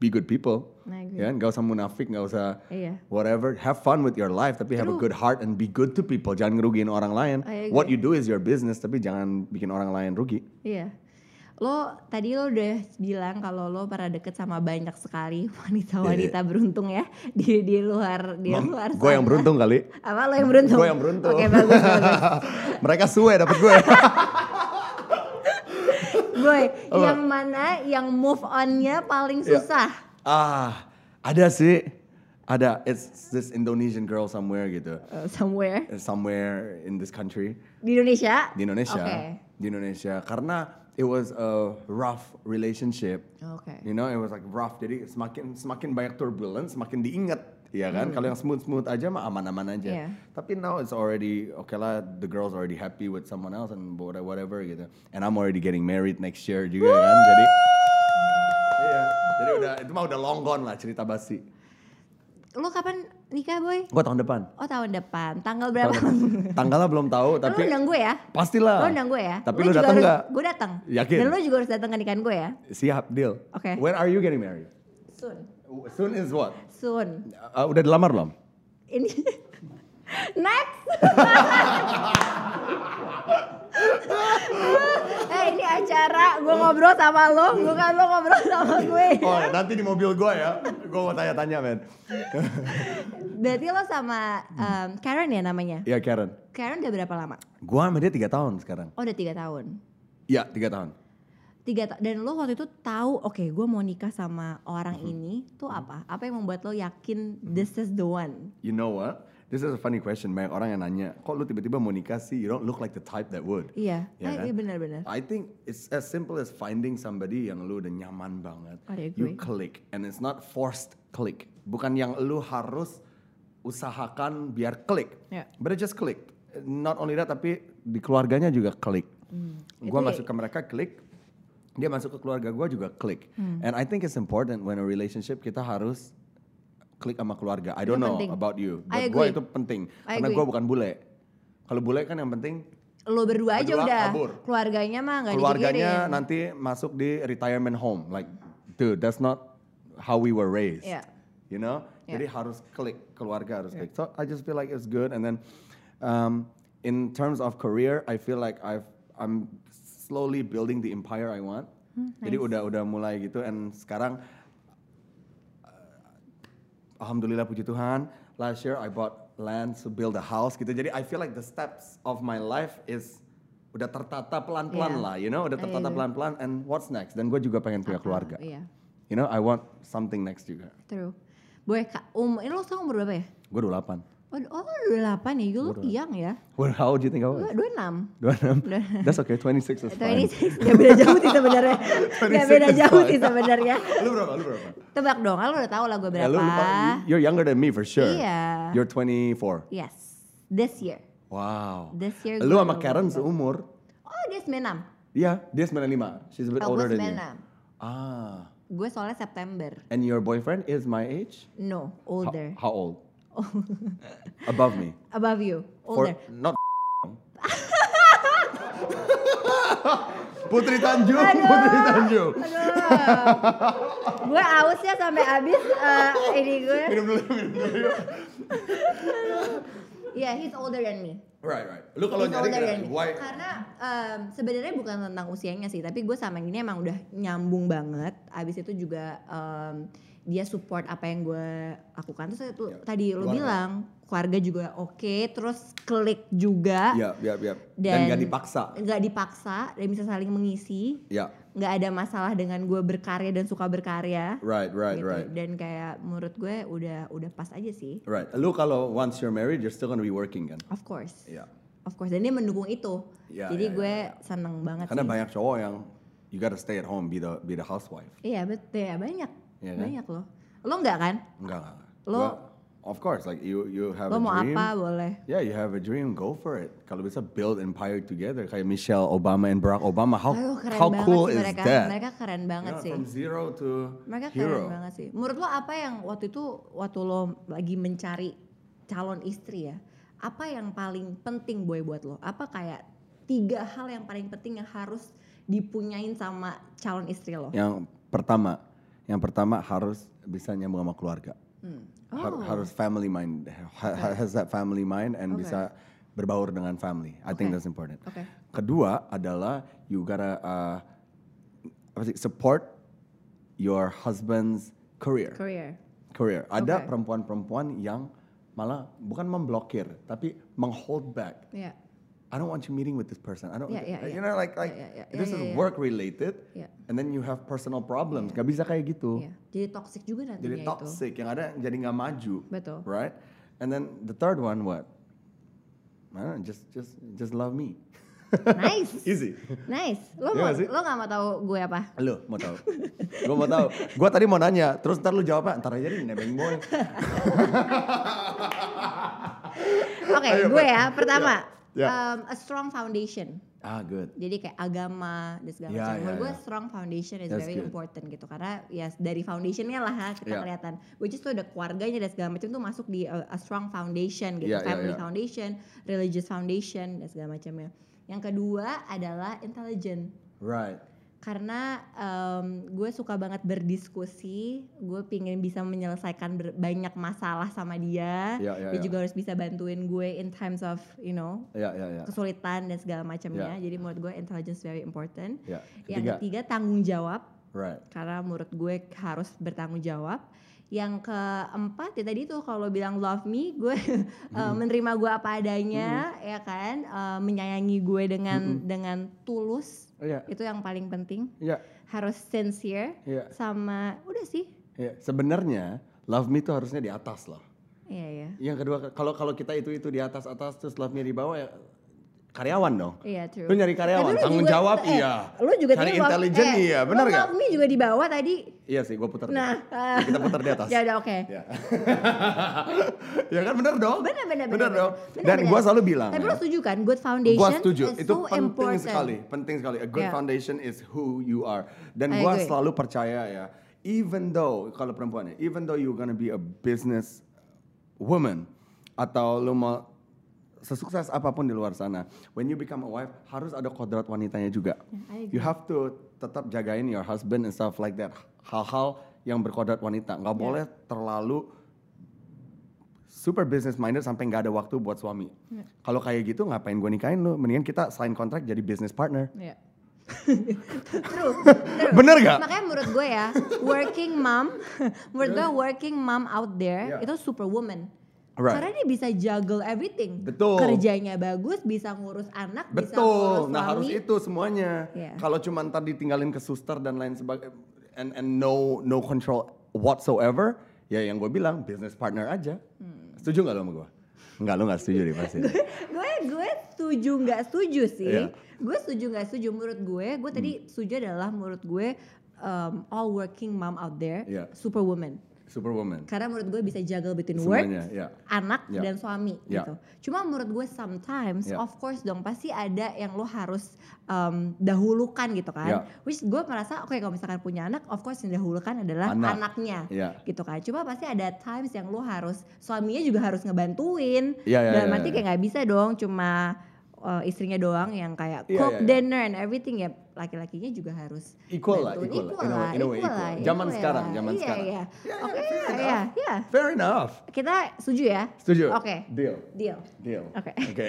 Speaker 2: be good people
Speaker 1: I agree.
Speaker 2: ya kan gak usah munafik gak usah
Speaker 1: iya
Speaker 2: whatever have fun with your life tapi have a
Speaker 1: True.
Speaker 2: good heart and be good to people jangan ngerugiin orang lain
Speaker 1: I agree.
Speaker 2: what you do is your business tapi jangan bikin orang lain rugi
Speaker 1: iya lo tadi lo udah bilang kalau lo pernah deket sama banyak sekali wanita-wanita beruntung ya di di luar di luar
Speaker 2: gue Iya. yang
Speaker 1: sana.
Speaker 2: beruntung kali
Speaker 1: apa lo yang beruntung
Speaker 2: gue yang beruntung
Speaker 1: oke bagus bagus
Speaker 2: mereka suwe dapet gue
Speaker 1: gue yang mana yang move onnya paling
Speaker 2: Iya.
Speaker 1: susah
Speaker 2: ah ada sih ada it's this Indonesian girl somewhere gitu
Speaker 1: Uh, somewhere
Speaker 2: somewhere in this country
Speaker 1: di Indonesia
Speaker 2: di Indonesia
Speaker 1: oke
Speaker 2: di Indonesia karena it was a rough relationship
Speaker 1: oke
Speaker 2: You know, it was like rough. Jadi semakin semakin banyak turbulence, semakin diingat, ya kan? Kalau yang smooth smooth aja mah aman-aman aja.
Speaker 1: Hmm. Iya.
Speaker 2: Tapi now it's already okay lah. The girl's already happy with someone else and what- whatever gitu. And I'm already getting married next year juga kan. Jadi, iya. Jadi udah itu mah udah long gone lah cerita basi.
Speaker 1: lo kapan nikah boy
Speaker 2: Gua tahun depan.
Speaker 1: Oh tahun depan, tanggal
Speaker 2: Tahun
Speaker 1: berapa?
Speaker 2: depan. Tanggalnya belum tahu,
Speaker 1: Tapi, lu
Speaker 2: tapi
Speaker 1: undang gue ya?
Speaker 2: pastilah.
Speaker 1: Lo undang gue ya?
Speaker 2: Tapi lu datang nggak?
Speaker 1: Gue datang.
Speaker 2: Yakin?
Speaker 1: Dan lo juga harus datang ke nikahan gue ya?
Speaker 2: Siap deal.
Speaker 1: Oke.
Speaker 2: When are you getting married?
Speaker 1: Soon.
Speaker 2: Soon is what?
Speaker 1: Soon.
Speaker 2: Uh, udah dilamar belum?
Speaker 1: Ini next. eh ini acara gue ngobrol sama lo, bukan lo ngobrol sama gue.
Speaker 2: Oh, nanti di mobil gua ya. gue mau tanya-tanya men.
Speaker 1: Berarti lo sama um, Karen ya namanya?
Speaker 2: Iya Karen.
Speaker 1: Karen udah berapa lama?
Speaker 2: Gue sama dia tiga tahun sekarang.
Speaker 1: Oh udah tiga tahun.
Speaker 2: Iya tiga tahun.
Speaker 1: Tiga ta- dan lo waktu itu tahu oke gue mau nikah sama orang
Speaker 2: Mm-hmm.
Speaker 1: ini tuh apa? Apa yang membuat lo yakin this is the one?
Speaker 2: You know what? This is a funny question. Banyak orang yang nanya, kok lu tiba-tiba mau nikah sih? You don't look like the type that would.
Speaker 1: Iya,
Speaker 2: Iya
Speaker 1: ah,
Speaker 2: kan?
Speaker 1: iya benar-benar.
Speaker 2: I think it's as simple as finding somebody yang lu udah nyaman banget.
Speaker 1: I agree.
Speaker 2: You click and it's not forced click. Bukan yang lu harus usahakan biar klik.
Speaker 1: Ya.
Speaker 2: But it just click. Not only that tapi di keluarganya juga klik. Gua
Speaker 1: Mm. Itu-
Speaker 2: masuk ke mereka klik. Dia masuk ke keluarga gua juga klik.
Speaker 1: Mm.
Speaker 2: And I think it's important when a relationship kita harus klik sama keluarga. I
Speaker 1: Itu
Speaker 2: don't know
Speaker 1: penting.
Speaker 2: about you.
Speaker 1: I
Speaker 2: Buat gua
Speaker 1: agree.
Speaker 2: itu penting.
Speaker 1: I
Speaker 2: Karena
Speaker 1: agree.
Speaker 2: gua bukan bule. Kalau bule kan yang penting
Speaker 1: Lo berdua aja
Speaker 2: Berdua
Speaker 1: udah.
Speaker 2: kabur.
Speaker 1: Keluarganya mah nggak
Speaker 2: keluarganya
Speaker 1: dipikirin.
Speaker 2: nanti masuk di retirement home like dude that's not how we were raised
Speaker 1: Yeah.
Speaker 2: you know
Speaker 1: Yeah.
Speaker 2: jadi harus klik keluarga harus klik so I just feel like it's good and then um, in terms of career I feel like I've I'm slowly building the empire I want
Speaker 1: Hmm,
Speaker 2: jadi udah udah mulai gitu and sekarang Alhamdulillah puji Tuhan. Last year I bought land to build a house gitu. Jadi I feel like the steps of my life is udah tertata
Speaker 1: Yeah.
Speaker 2: pelan-pelan
Speaker 1: Iya,
Speaker 2: lah, you know, udah
Speaker 1: I
Speaker 2: tertata
Speaker 1: agree.
Speaker 2: pelan-pelan. And what's next? Dan gue juga pengen punya
Speaker 1: Ah,
Speaker 2: keluarga.
Speaker 1: Iya,
Speaker 2: You know, I want something next juga.
Speaker 1: true. Boleh kak, um, ini lo sekarang umur berapa ya?
Speaker 2: Gue 28.
Speaker 1: Oh, oh lu 28 ya, you look young ya.
Speaker 2: Well, how old do you think I
Speaker 1: Lu
Speaker 2: was?
Speaker 1: 26.
Speaker 2: 26. That's okay. 26 is fine.
Speaker 1: 26, gak beda jauh sih sebenarnya. Gak
Speaker 2: 26
Speaker 1: beda
Speaker 2: is
Speaker 1: jauh
Speaker 2: fine.
Speaker 1: sih sebenarnya.
Speaker 2: Lu berapa? Lu berapa?
Speaker 1: Tebak dong, kan lu udah tau lah gue
Speaker 2: Ya,
Speaker 1: berapa.
Speaker 2: lu lupa- you're younger than me for sure.
Speaker 1: Iya.
Speaker 2: You're 24.
Speaker 1: Yes, this year.
Speaker 2: Wow.
Speaker 1: This year
Speaker 2: iya. Lu
Speaker 1: gua
Speaker 2: sama
Speaker 1: baru
Speaker 2: Karen seumur.
Speaker 1: Oh, dia 96.
Speaker 2: Iya, dia 95. She's a bit
Speaker 1: Oh,
Speaker 2: older
Speaker 1: gue
Speaker 2: than you.
Speaker 1: 96.
Speaker 2: Ah.
Speaker 1: Gue soalnya September.
Speaker 2: And your boyfriend is my age?
Speaker 1: No,
Speaker 2: Ho-
Speaker 1: older.
Speaker 2: How, old? Above me.
Speaker 1: Above you,
Speaker 2: For-
Speaker 1: older.
Speaker 2: not Putri Tanjung,
Speaker 1: Aduh.
Speaker 2: Putri Tanjung.
Speaker 1: gue ausnya sampai habis eh, ini gue.
Speaker 2: Minum dulu, minum dulu. yuk.
Speaker 1: Yeah, he's older than me.
Speaker 2: Right, right. Lu kalau
Speaker 1: He's older
Speaker 2: nyari
Speaker 1: than
Speaker 2: kenapa?
Speaker 1: me.
Speaker 2: why?
Speaker 1: Karena em, sebenarnya bukan tentang usianya sih, tapi gue sama yang ini emang udah nyambung banget. Abis itu juga em, dia support apa yang gue lakukan. Terus itu
Speaker 2: Ya,
Speaker 1: tadi lo
Speaker 2: keluarga.
Speaker 1: bilang keluarga juga oke, terus klik juga,
Speaker 2: Ya, ya, ya.
Speaker 1: Iya, Dan-
Speaker 2: Dan gak dipaksa.
Speaker 1: nggak dipaksa dan bisa saling mengisi.
Speaker 2: Ya,
Speaker 1: Nggak ada masalah dengan gue berkarya dan suka berkarya.
Speaker 2: right, right,
Speaker 1: gitu.
Speaker 2: right.
Speaker 1: Dan kayak menurut gue udah udah pas aja sih.
Speaker 2: Right. Lu kalau once you're married, you're still gonna be working kan?
Speaker 1: Of course.
Speaker 2: Iya.
Speaker 1: Of course. Dan dia mendukung itu.
Speaker 2: Ya,
Speaker 1: Jadi
Speaker 2: ya, ya,
Speaker 1: gue seneng banget
Speaker 2: Karena
Speaker 1: sih.
Speaker 2: banyak cowok yang you gotta stay at home, be the be the housewife.
Speaker 1: Iya betul ya banyak.
Speaker 2: Iya kan?
Speaker 1: banyak loh. Lo enggak kan?
Speaker 2: Enggak, enggak.
Speaker 1: Lo-
Speaker 2: Gua- of course, like you you have
Speaker 1: Lo
Speaker 2: a
Speaker 1: mau
Speaker 2: dream.
Speaker 1: apa boleh.
Speaker 2: Yeah, you have a dream, go for it. Kalau bisa build empire together kayak Michelle Obama and Barack Obama. How
Speaker 1: Aduh keren
Speaker 2: how
Speaker 1: banget
Speaker 2: cool
Speaker 1: sih
Speaker 2: is
Speaker 1: mereka.
Speaker 2: that?
Speaker 1: Mereka keren
Speaker 2: You
Speaker 1: banget
Speaker 2: know,
Speaker 1: sih.
Speaker 2: From zero to
Speaker 1: Mereka
Speaker 2: hero.
Speaker 1: keren banget sih. Menurut lo apa yang waktu itu waktu lo lagi mencari calon istri ya? Apa yang paling penting boy buat lo? Apa kayak tiga hal yang paling penting yang harus dipunyain sama calon istri lo?
Speaker 2: Yang pertama, yang pertama harus bisa nyambung sama keluarga.
Speaker 1: Hmm.
Speaker 2: Har-
Speaker 1: Oh.
Speaker 2: Harus family mind, ha- has that family mind and
Speaker 1: Okay.
Speaker 2: bisa berbaur dengan family. I think
Speaker 1: Okay.
Speaker 2: that's important.
Speaker 1: Oke.
Speaker 2: Kedua adalah you gotta uh, apa sih, support your husband's career.
Speaker 1: Career.
Speaker 2: career. Ada
Speaker 1: Okay.
Speaker 2: perempuan-perempuan yang malah bukan memblokir tapi menghold back.
Speaker 1: Iya.
Speaker 2: I don't want you meeting with this person. I don't.
Speaker 1: Yeah, yeah,
Speaker 2: you
Speaker 1: yeah.
Speaker 2: know like like
Speaker 1: Yeah, yeah, yeah.
Speaker 2: this
Speaker 1: Yeah,
Speaker 2: is
Speaker 1: yeah, yeah.
Speaker 2: work related
Speaker 1: Yeah.
Speaker 2: and then you have personal problems. Gak bisa kayak gitu.
Speaker 1: Iya. ya, Jadi toxic juga nantinya
Speaker 2: Jadi
Speaker 1: itu.
Speaker 2: toxic yang ada jadi nggak maju.
Speaker 1: Betul.
Speaker 2: Right? And then the third one what? I don't know, just just just love me.
Speaker 1: Nice.
Speaker 2: Easy.
Speaker 1: Nice. Lo
Speaker 2: Iya
Speaker 1: mau
Speaker 2: nggak sih?
Speaker 1: lo gak mau tahu gue apa?
Speaker 2: Lu mau tahu? gue mau tahu. Gue tadi mau nanya, terus ntar lu jawabnya ntar aja nih nebeng boy.
Speaker 1: Oke,
Speaker 2: Ayo,
Speaker 1: gue
Speaker 2: Pak.
Speaker 1: ya. Pertama,
Speaker 2: Ya.
Speaker 1: um, a strong foundation.
Speaker 2: Ah good.
Speaker 1: Jadi kayak agama dan segala
Speaker 2: Ya,
Speaker 1: macam.
Speaker 2: ya,
Speaker 1: Menurut gue
Speaker 2: ya.
Speaker 1: strong foundation is
Speaker 2: That's
Speaker 1: very
Speaker 2: good.
Speaker 1: important gitu karena ya dari foundationnya lah ha, kita
Speaker 2: Ya.
Speaker 1: kelihatan. Which is tuh ada keluarganya dan segala macam tuh masuk di uh, a strong foundation gitu,
Speaker 2: Ya, ya,
Speaker 1: family
Speaker 2: ya.
Speaker 1: foundation, religious foundation dan segala macamnya. Yang kedua adalah intelligent.
Speaker 2: Right.
Speaker 1: karena em, gue suka banget berdiskusi gue pingin bisa menyelesaikan ber- banyak masalah sama dia
Speaker 2: Ya, ya,
Speaker 1: dia
Speaker 2: ya.
Speaker 1: juga harus bisa bantuin gue in times of you know
Speaker 2: Ya ya ya.
Speaker 1: kesulitan dan segala macamnya
Speaker 2: Ya.
Speaker 1: jadi menurut gue intelligence very important
Speaker 2: Ya.
Speaker 1: yang ketiga tanggung jawab
Speaker 2: Right.
Speaker 1: karena menurut gue harus bertanggung jawab. Yang keempat ya tadi tuh kalau bilang love me, gue eh,
Speaker 2: Hmm.
Speaker 1: menerima gue apa adanya, ya kan, Eh, menyayangi gue dengan dengan tulus
Speaker 2: Oh, ya,
Speaker 3: Iya.
Speaker 1: itu yang paling penting.
Speaker 3: Iya.
Speaker 1: Harus sincere
Speaker 3: Iya.
Speaker 1: sama udah sih,
Speaker 3: Iya.
Speaker 2: ya. Sebenarnya love me itu harusnya di atas lah.
Speaker 1: iya ya,
Speaker 2: Yang kedua kalau kalau kita itu itu di atas atas terus love me di bawah ya karyawan dong.
Speaker 1: iya true.
Speaker 2: Lu nyari karyawan,
Speaker 1: Tapi lu
Speaker 2: tanggung
Speaker 1: juga-
Speaker 2: jawab
Speaker 1: eh,
Speaker 2: iya.
Speaker 1: Lu juga
Speaker 2: cari
Speaker 1: tadi love-
Speaker 2: intelijen
Speaker 1: eh,
Speaker 2: iya, benar
Speaker 1: lu
Speaker 2: nggak?
Speaker 1: Love me juga di bawah tadi.
Speaker 2: Iya sih, gue putar. deh.
Speaker 1: Nah, eh,
Speaker 2: kita putar di atas.
Speaker 1: ya udah oke.
Speaker 2: Ya. ya kan bener dong?
Speaker 1: Bener, bener, bener,
Speaker 2: dong.
Speaker 1: bener.
Speaker 2: Dan
Speaker 1: Bener,
Speaker 2: gue
Speaker 1: bener.
Speaker 2: selalu bilang.
Speaker 1: Tapi
Speaker 2: ya,
Speaker 1: lu setuju kan good foundation
Speaker 2: Gua setuju,
Speaker 1: is
Speaker 2: itu
Speaker 1: so
Speaker 2: penting
Speaker 1: important.
Speaker 2: sekali, penting sekali. A good
Speaker 1: Yeah.
Speaker 2: foundation is who you are. Dan
Speaker 1: I
Speaker 2: gua
Speaker 1: agree.
Speaker 2: selalu percaya ya, even though kalau perempuan ya, even though you're gonna be a business woman atau lu mau sesukses apapun di luar sana, when you become a wife harus ada kodrat wanitanya juga.
Speaker 1: I agree.
Speaker 2: You have to tetap jagain your husband and stuff like that. Hal-hal yang berkodrat wanita, nggak
Speaker 1: Yeah.
Speaker 2: boleh terlalu super business minded sampai nggak ada waktu buat suami.
Speaker 1: Ya.
Speaker 2: Kalau kayak gitu ngapain gue nikahin lu? Mendingan kita sign kontrak jadi business partner.
Speaker 1: Iya. True.
Speaker 2: Bener gak?
Speaker 1: Makanya menurut gue ya, working mom, menurut gue working mom out there
Speaker 2: Yeah.
Speaker 1: itu superwoman.
Speaker 2: Right.
Speaker 1: Karena dia bisa juggle everything.
Speaker 2: Betul.
Speaker 1: Kerjanya bagus, bisa ngurus anak, bisa ngurus
Speaker 2: Betul.
Speaker 1: suami.
Speaker 2: Nah harus itu semuanya.
Speaker 1: Iya.
Speaker 2: Kalau cuma ntar ditinggalin ke suster dan lain sebagainya and and no no control whatsoever, ya yang gue bilang business partner aja.
Speaker 1: Hmm.
Speaker 2: Setuju nggak lo sama gue? Enggak, lo nggak setuju deh pasti.
Speaker 1: gue gue setuju nggak setuju sih
Speaker 2: Iya. Hmm.
Speaker 1: gue setuju nggak setuju menurut gue gue tadi setuju adalah menurut gue um, all working mom out there
Speaker 2: Iya.
Speaker 1: superwoman
Speaker 2: Superwoman.
Speaker 1: karena menurut gue bisa juggle between work
Speaker 2: Semuanya, ya.
Speaker 1: anak
Speaker 2: Iya.
Speaker 1: dan suami
Speaker 2: Iya.
Speaker 1: gitu cuma menurut gue sometimes
Speaker 2: Iya.
Speaker 1: of course dong pasti ada yang lo harus um, dahulukan gitu
Speaker 2: Iya.
Speaker 1: kan which gue merasa oke kalau misalkan punya anak of course yang dahulukan adalah
Speaker 2: Anak.
Speaker 1: anaknya
Speaker 2: Iya.
Speaker 1: gitu kan cuma pasti ada times yang lo harus suaminya juga harus ngebantuin
Speaker 2: Iya, iya,
Speaker 1: dalam
Speaker 2: iya,
Speaker 1: arti
Speaker 2: iya.
Speaker 1: kayak nggak bisa dong cuma uh, istrinya doang yang kayak
Speaker 2: Iya,
Speaker 1: cook
Speaker 2: iya, iya.
Speaker 1: dinner and everything ya laki-lakinya juga harus
Speaker 2: Equal lah,
Speaker 1: bantuin. equal
Speaker 2: equal lah. In a
Speaker 1: lah
Speaker 2: way- in a way
Speaker 1: equal
Speaker 2: equal.
Speaker 1: lah,
Speaker 2: Zaman
Speaker 1: equal
Speaker 2: sekarang,
Speaker 1: lah.
Speaker 2: zaman
Speaker 1: iya,
Speaker 2: sekarang.
Speaker 1: iya.
Speaker 2: Iya, iya,
Speaker 1: oke
Speaker 2: fair
Speaker 1: iya, iya
Speaker 2: enough.
Speaker 1: iya.
Speaker 2: Fair enough.
Speaker 1: kita setuju ya
Speaker 2: Setuju.
Speaker 1: oke
Speaker 2: Deal.
Speaker 1: deal
Speaker 2: Deal.
Speaker 1: Oke.
Speaker 2: Oke.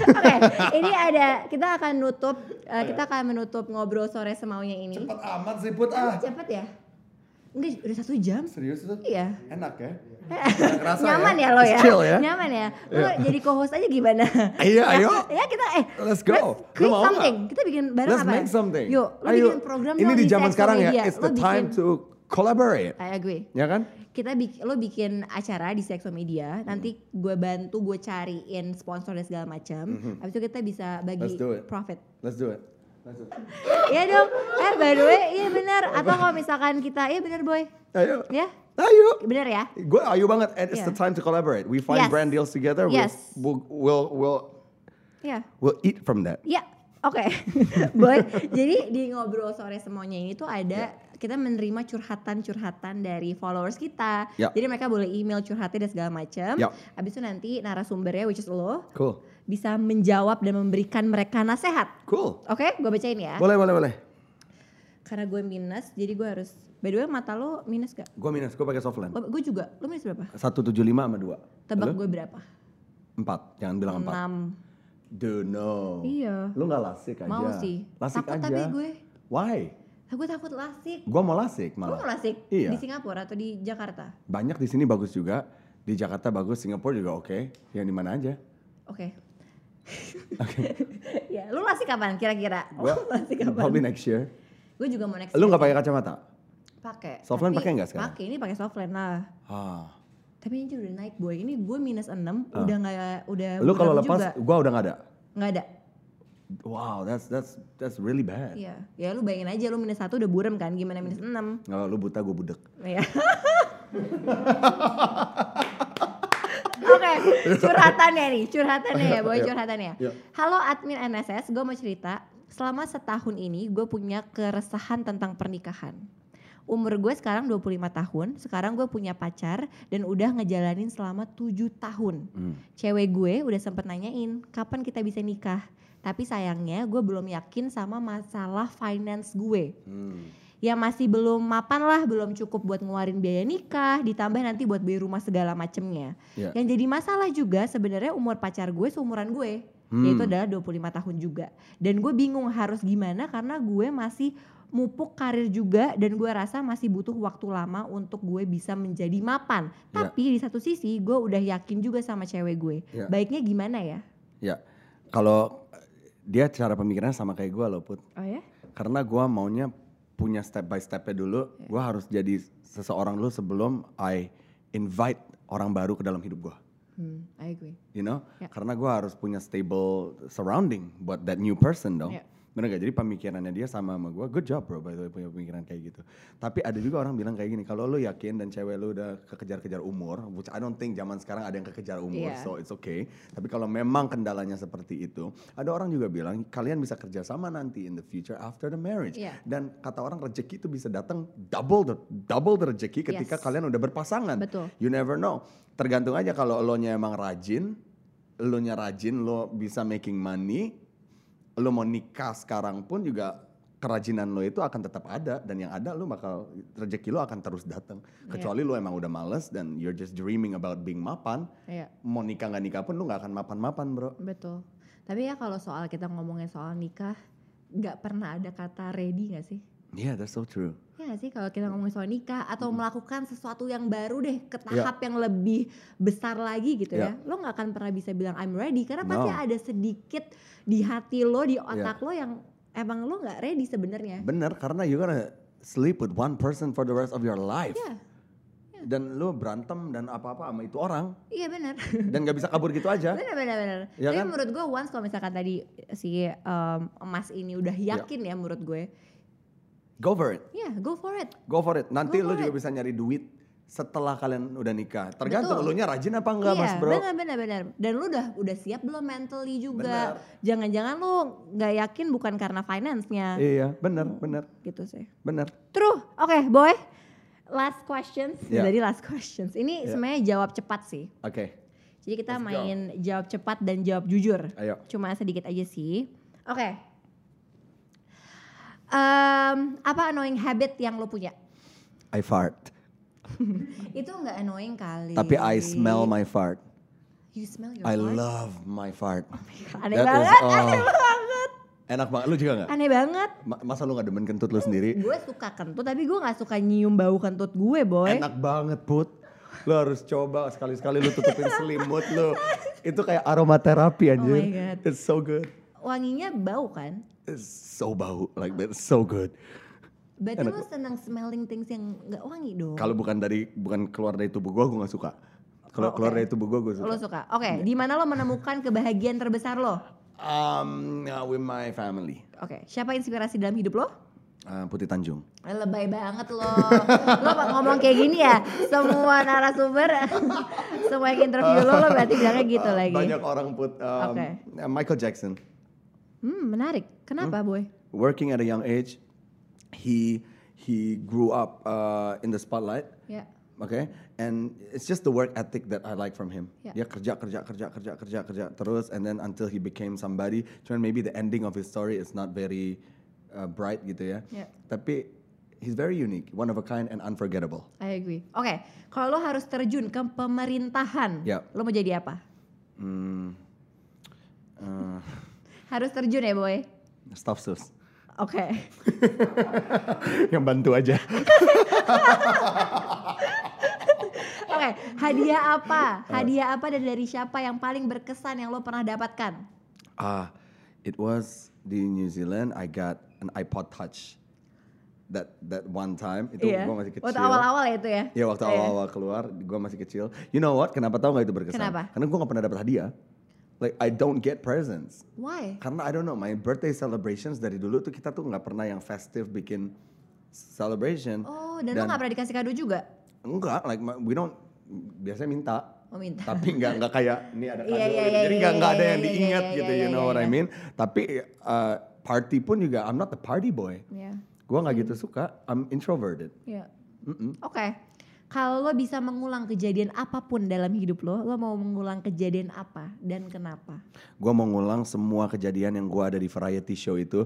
Speaker 1: Oke, ini ada kita akan nutup uh, kita akan menutup ngobrol sore semaunya ini.
Speaker 2: Cepet amat sih put ah.
Speaker 1: Cepet ya? Enggak, udah satu jam.
Speaker 2: Serius itu?
Speaker 1: Iya.
Speaker 2: Enak ya? Nggak kerasa
Speaker 1: Nyaman ya, lo ya.
Speaker 2: It's Chill ya?
Speaker 1: Nyaman ya. Lo jadi co-host aja gimana?
Speaker 2: Iya, ayo.
Speaker 1: ya kita eh
Speaker 2: Let's go. Lo
Speaker 1: Let's create
Speaker 2: mau nggak?
Speaker 1: something. Kita bikin bareng
Speaker 2: Let's
Speaker 1: apa?
Speaker 2: make something.
Speaker 1: Yuk, lo
Speaker 2: Ayo.
Speaker 1: bikin program
Speaker 2: Ini
Speaker 1: dong
Speaker 2: di zaman
Speaker 1: Trax
Speaker 2: sekarang ya,
Speaker 1: Media.
Speaker 2: it's
Speaker 1: Lo
Speaker 2: the time
Speaker 1: bikin-
Speaker 2: to collaborate.
Speaker 1: I agree.
Speaker 2: Ya kan?
Speaker 1: kita bik lo bikin acara di Sexomedia nanti
Speaker 2: Mm-hmm.
Speaker 1: gue bantu gue cariin sponsor dan segala macam habis itu kita bisa bagi
Speaker 2: Let's do it.
Speaker 1: profit
Speaker 2: Let's do it. Let's do it.
Speaker 1: Iya dong eh by the way iya benar atau kalau misalkan kita iya benar boy
Speaker 2: Ayo.
Speaker 1: ya
Speaker 2: Ayo.
Speaker 1: benar ya
Speaker 2: Gue ayo banget. And it's
Speaker 1: Yeah.
Speaker 2: the time to collaborate. We find
Speaker 1: Yes.
Speaker 2: brand deals together. We'll-
Speaker 1: Yes.
Speaker 2: We'll, we'll, we'll,
Speaker 1: ya
Speaker 2: we'll eat from that.
Speaker 1: ya oke boy jadi di ngobrol sore semuanya ini tuh ada
Speaker 2: Iya.
Speaker 1: kita menerima curhatan-curhatan dari followers kita
Speaker 2: Ya.
Speaker 1: jadi mereka boleh email curhatnya dan segala macam
Speaker 2: Ya.
Speaker 1: habis itu nanti narasumbernya which is lo
Speaker 2: Cool.
Speaker 1: bisa menjawab dan memberikan mereka nasihat
Speaker 2: Cool.
Speaker 1: Oke, gue bacain ya.
Speaker 2: Boleh, boleh, boleh.
Speaker 1: Karena gue minus, jadi gue harus. By the way, mata lo minus gak?
Speaker 2: Gue minus, gue pakai soft lens.
Speaker 1: Gue juga. Lo minus berapa?
Speaker 2: 175 sama 2.
Speaker 1: Tebak gue berapa?
Speaker 2: 4, jangan bilang 4.
Speaker 1: Enam.
Speaker 2: Do no.
Speaker 1: Iya.
Speaker 2: Lu nggak lasik aja.
Speaker 1: Mau sih.
Speaker 2: Lasik
Speaker 1: Takut
Speaker 2: aja.
Speaker 1: tapi gue.
Speaker 2: Why?
Speaker 1: Nah, gue takut lasik.
Speaker 2: Gua mau lasik
Speaker 1: Lo mau
Speaker 2: malah.
Speaker 1: lasik?
Speaker 2: Iya.
Speaker 1: Di Singapura atau di Jakarta?
Speaker 2: Banyak di sini bagus juga. Di Jakarta bagus, Singapura juga oke. Yang di mana aja?
Speaker 1: Oke. ya, lo lasik kapan kira-kira?
Speaker 2: Gua
Speaker 1: Lo Oh, lasik
Speaker 2: probably
Speaker 1: kapan?
Speaker 2: next year.
Speaker 1: Gue juga mau next.
Speaker 2: Lu nggak pakai kacamata?
Speaker 1: pakai?
Speaker 2: Soft lens
Speaker 1: Tapi
Speaker 2: pakai nggak sekarang?
Speaker 1: Pakai ini pakai softland lah.
Speaker 2: Ah.
Speaker 1: Tapi ini udah naik boy. Ini gue minus 6 udah nggak udah.
Speaker 2: Lu kalau
Speaker 1: buram
Speaker 2: lepas,
Speaker 1: juga.
Speaker 2: gua udah nggak ada.
Speaker 1: nggak ada.
Speaker 2: Wow, that's that's that's really bad.
Speaker 1: Iya, ya lu bayangin aja lu minus satu udah burem kan, gimana minus enam?
Speaker 2: Kalau lu buta, gue budek.
Speaker 1: Ya. Oke, curhatannya nih, curhatannya ya, boy
Speaker 2: Iya.
Speaker 1: curhatannya.
Speaker 2: Iya.
Speaker 1: Halo admin NSS, gue mau cerita. Selama setahun ini gue punya keresahan tentang pernikahan. Umur gue sekarang 25 tahun, sekarang gue punya pacar dan udah ngejalanin selama 7 tahun.
Speaker 2: Hmm.
Speaker 1: Cewek gue udah sempet nanyain kapan kita bisa nikah. Tapi sayangnya gue belum yakin sama masalah finance gue.
Speaker 2: Hmm.
Speaker 1: Ya masih belum mapan lah, belum cukup buat ngeluarin biaya nikah, ditambah nanti buat beli rumah segala macemnya.
Speaker 2: Ya.
Speaker 1: Yang jadi masalah juga sebenarnya umur pacar gue seumuran gue,
Speaker 2: Hmm.
Speaker 1: yaitu adalah 25 tahun juga. Dan gue bingung harus gimana karena gue masih mupuk karir juga dan gue rasa masih butuh waktu lama untuk gue bisa menjadi mapan.
Speaker 2: Iya.
Speaker 1: Tapi di satu sisi gue udah yakin juga sama cewek gue.
Speaker 2: Iya.
Speaker 1: Baiknya gimana ya?
Speaker 2: Ya, kalau dia cara pemikirannya sama kayak gue loh Put.
Speaker 1: Oh ya?
Speaker 2: Karena gue maunya punya step by stepnya dulu. Gue harus jadi seseorang dulu sebelum I invite orang baru ke dalam hidup gue.
Speaker 1: Hmm, I agree.
Speaker 2: You know,
Speaker 1: Ya.
Speaker 2: karena gue harus punya stable surrounding buat that new person dong.
Speaker 1: Ya.
Speaker 2: Bener gak? Jadi pemikirannya dia sama sama gue, good job bro by the way punya pemikiran kayak gitu. Tapi ada juga orang bilang kayak gini, kalau lu yakin dan cewek lu udah kekejar-kejar umur, which I don't think zaman sekarang ada yang kekejar umur,
Speaker 1: Iya.
Speaker 2: so it's okay. Tapi kalau memang kendalanya seperti itu, ada orang juga bilang kalian bisa kerja sama nanti in the future after the marriage.
Speaker 1: Iya.
Speaker 2: Dan kata orang rezeki itu bisa datang double the double the rezeki ketika
Speaker 1: Yes.
Speaker 2: kalian udah berpasangan.
Speaker 1: Betul.
Speaker 2: You never know. Tergantung aja kalau lo nya emang rajin, lo nya rajin, lo bisa making money, lo mau nikah sekarang pun juga kerajinan lo itu akan tetap ada dan yang ada lo bakal rezeki lo akan terus datang.
Speaker 1: Iya.
Speaker 2: Kecuali lo emang udah males dan you're just dreaming about being mapan,
Speaker 1: Iya,
Speaker 2: mau nikah nggak nikah pun lo nggak akan mapan-mapan bro.
Speaker 1: betul. Tapi ya kalau soal kita ngomongin soal nikah, nggak pernah ada kata ready nggak sih?
Speaker 2: Yeah, that's so true.
Speaker 1: Ya nggak sih kalau kita ngomongin soal nikah atau melakukan sesuatu yang baru deh ke
Speaker 2: Iya.
Speaker 1: tahap yang lebih besar lagi gitu ya.
Speaker 2: Ya.
Speaker 1: Lo nggak akan pernah bisa bilang I'm ready karena pasti
Speaker 2: No. Iya.
Speaker 1: ada sedikit di hati lo, di otak lo yang emang lo nggak ready sebenarnya.
Speaker 2: Bener, karena you're gonna sleep with one person for the rest of your life.
Speaker 1: Iya,
Speaker 2: Dan lo berantem dan apa-apa sama itu orang
Speaker 1: iya benar.
Speaker 2: dan nggak bisa kabur gitu aja.
Speaker 1: Benar benar benar.
Speaker 2: Ya
Speaker 1: Tapi
Speaker 2: kan?
Speaker 1: menurut gue once kalau misalkan tadi si em, Mas ini udah
Speaker 2: Iya.
Speaker 1: yakin ya menurut gue,
Speaker 2: Go for it.
Speaker 1: ya go for it.
Speaker 2: Go for it. Nanti
Speaker 1: Go
Speaker 2: lu
Speaker 1: for
Speaker 2: juga bisa nyari duit setelah kalian udah nikah. Tergantung
Speaker 1: Betul.
Speaker 2: lu nya rajin apa enggak, Mas
Speaker 1: iya,
Speaker 2: Bro.
Speaker 1: benar benar benar. Dan lu udah udah siap belum mentally juga?
Speaker 2: Benar.
Speaker 1: Jangan-jangan lu nggak yakin bukan karena finance-nya.
Speaker 2: Iya, benar, benar,
Speaker 1: Gitu sih.
Speaker 2: benar.
Speaker 1: True. Oke, boy. Last questions.
Speaker 2: Ya.
Speaker 1: Jadi last questions. Ini
Speaker 2: Ya.
Speaker 1: sebenarnya jawab cepat sih.
Speaker 2: Oke,
Speaker 1: Jadi kita
Speaker 2: Let's go.
Speaker 1: main jawab cepat dan jawab jujur.
Speaker 2: ayo.
Speaker 1: Cuma sedikit aja sih. Oke. Em, apa annoying habit yang lo punya?
Speaker 2: I fart.
Speaker 1: Itu nggak annoying kali.
Speaker 2: Tapi I smell my fart.
Speaker 1: You smell your
Speaker 2: I
Speaker 1: fart?
Speaker 2: love my fart.
Speaker 1: Aneh
Speaker 2: That is
Speaker 1: banget,
Speaker 2: all.
Speaker 1: aneh banget,
Speaker 2: Enak banget. Lu juga nggak?
Speaker 1: aneh banget.
Speaker 2: Ma- masa lu nggak demen kentut lu sendiri?
Speaker 1: Gue suka kentut tapi gue nggak suka nyium bau kentut gue boy.
Speaker 2: Enak banget, Put. Lu harus coba sekali-sekali lu tutupin selimut lu. Itu kayak
Speaker 1: Oh my
Speaker 2: aromaterapi anjir.
Speaker 1: God.
Speaker 2: It's so good.
Speaker 1: Wanginya bau kan?
Speaker 2: It's so bau like that. It's so good.
Speaker 1: Berarti lo senang smelling things yang nggak wangi dong?
Speaker 2: Kalau bukan dari bukan keluar dari tubuh gua, gua nggak suka.
Speaker 1: Oh,
Speaker 2: Kalau
Speaker 1: oke.
Speaker 2: keluar dari tubuh gua, gua suka. Iya.
Speaker 1: Lo suka. Oke, di mana lo menemukan kebahagiaan terbesar lo?
Speaker 2: Um, uh, with my family,
Speaker 1: Oke, siapa inspirasi dalam hidup lo?
Speaker 2: Uh, Putih Tanjung.
Speaker 1: Eh, Lebay banget lo. lo kok ngomong kayak gini ya? Semua narasumber, semua yang interview lo, lo berarti bilangnya gitu
Speaker 2: Uh,
Speaker 1: lagi.
Speaker 2: Banyak orang put um,
Speaker 1: Oke.
Speaker 2: uh, Michael Jackson.
Speaker 1: Hmm, menarik. Kenapa boy?
Speaker 2: Working at a young age, he he grew up uh, in the spotlight.
Speaker 1: Ya.
Speaker 2: Okay, and it's just the work ethic that I like from him.
Speaker 1: Yeah.
Speaker 2: Dia kerja kerja kerja kerja kerja kerja terus, and then until he became somebody. Cuman maybe the ending of his story is not very uh, bright gitu ya.
Speaker 1: Yeah.
Speaker 2: Tapi he's very unique, one of a kind, and unforgettable.
Speaker 1: I agree. Oke, kalau lo harus terjun ke pemerintahan,
Speaker 2: Ya.
Speaker 1: lo mau jadi apa?
Speaker 2: Hmm. Uh,
Speaker 1: Harus terjun ya boy.
Speaker 2: staff sus.
Speaker 1: Oke.
Speaker 2: Yang bantu aja.
Speaker 1: Oke, hadiah apa?
Speaker 2: Eh.
Speaker 1: Hadiah apa dan dari siapa yang paling berkesan yang lo pernah dapatkan?
Speaker 2: Ah, it was di New Zealand. I got an iPod Touch. That that one time itu
Speaker 1: Iya.
Speaker 2: gue masih kecil.
Speaker 1: Waktu awal-awal ya itu ya.
Speaker 2: Ya waktu
Speaker 1: Oh,
Speaker 2: awal-awal keluar, gue masih kecil. You know what? Kenapa tahu nggak itu berkesan?
Speaker 1: Kenapa?
Speaker 2: Karena gue nggak pernah dapat hadiah. Like I don't get presents.
Speaker 1: Why?
Speaker 2: Karena I don't know, my birthday celebrations dari dulu tuh kita tuh nggak pernah yang festive bikin celebration.
Speaker 1: Oh, dan, lo gak pernah dikasih kado juga?
Speaker 2: enggak, like my- we don't biasanya minta.
Speaker 1: Oh, minta.
Speaker 2: tapi nggak nggak kayak ini ada kado
Speaker 1: Iya, iya,
Speaker 2: gitu.
Speaker 1: iya,
Speaker 2: jadi
Speaker 1: iya,
Speaker 2: nggak nggak ada
Speaker 1: iya, iya,
Speaker 2: yang
Speaker 1: iya,
Speaker 2: diingat
Speaker 1: iya,
Speaker 2: gitu
Speaker 1: iya,
Speaker 2: you know
Speaker 1: iya,
Speaker 2: what I
Speaker 1: iya.
Speaker 2: mean tapi uh, party pun juga I'm not the party boy
Speaker 1: Iya.
Speaker 2: gue nggak gitu suka I'm introverted
Speaker 1: Iya.
Speaker 2: Mm-mm.
Speaker 1: Oke. Kalau lo bisa mengulang kejadian apapun dalam hidup lo, lo mau mengulang kejadian apa dan kenapa?
Speaker 2: gue mau ngulang semua kejadian yang gue ada di variety show itu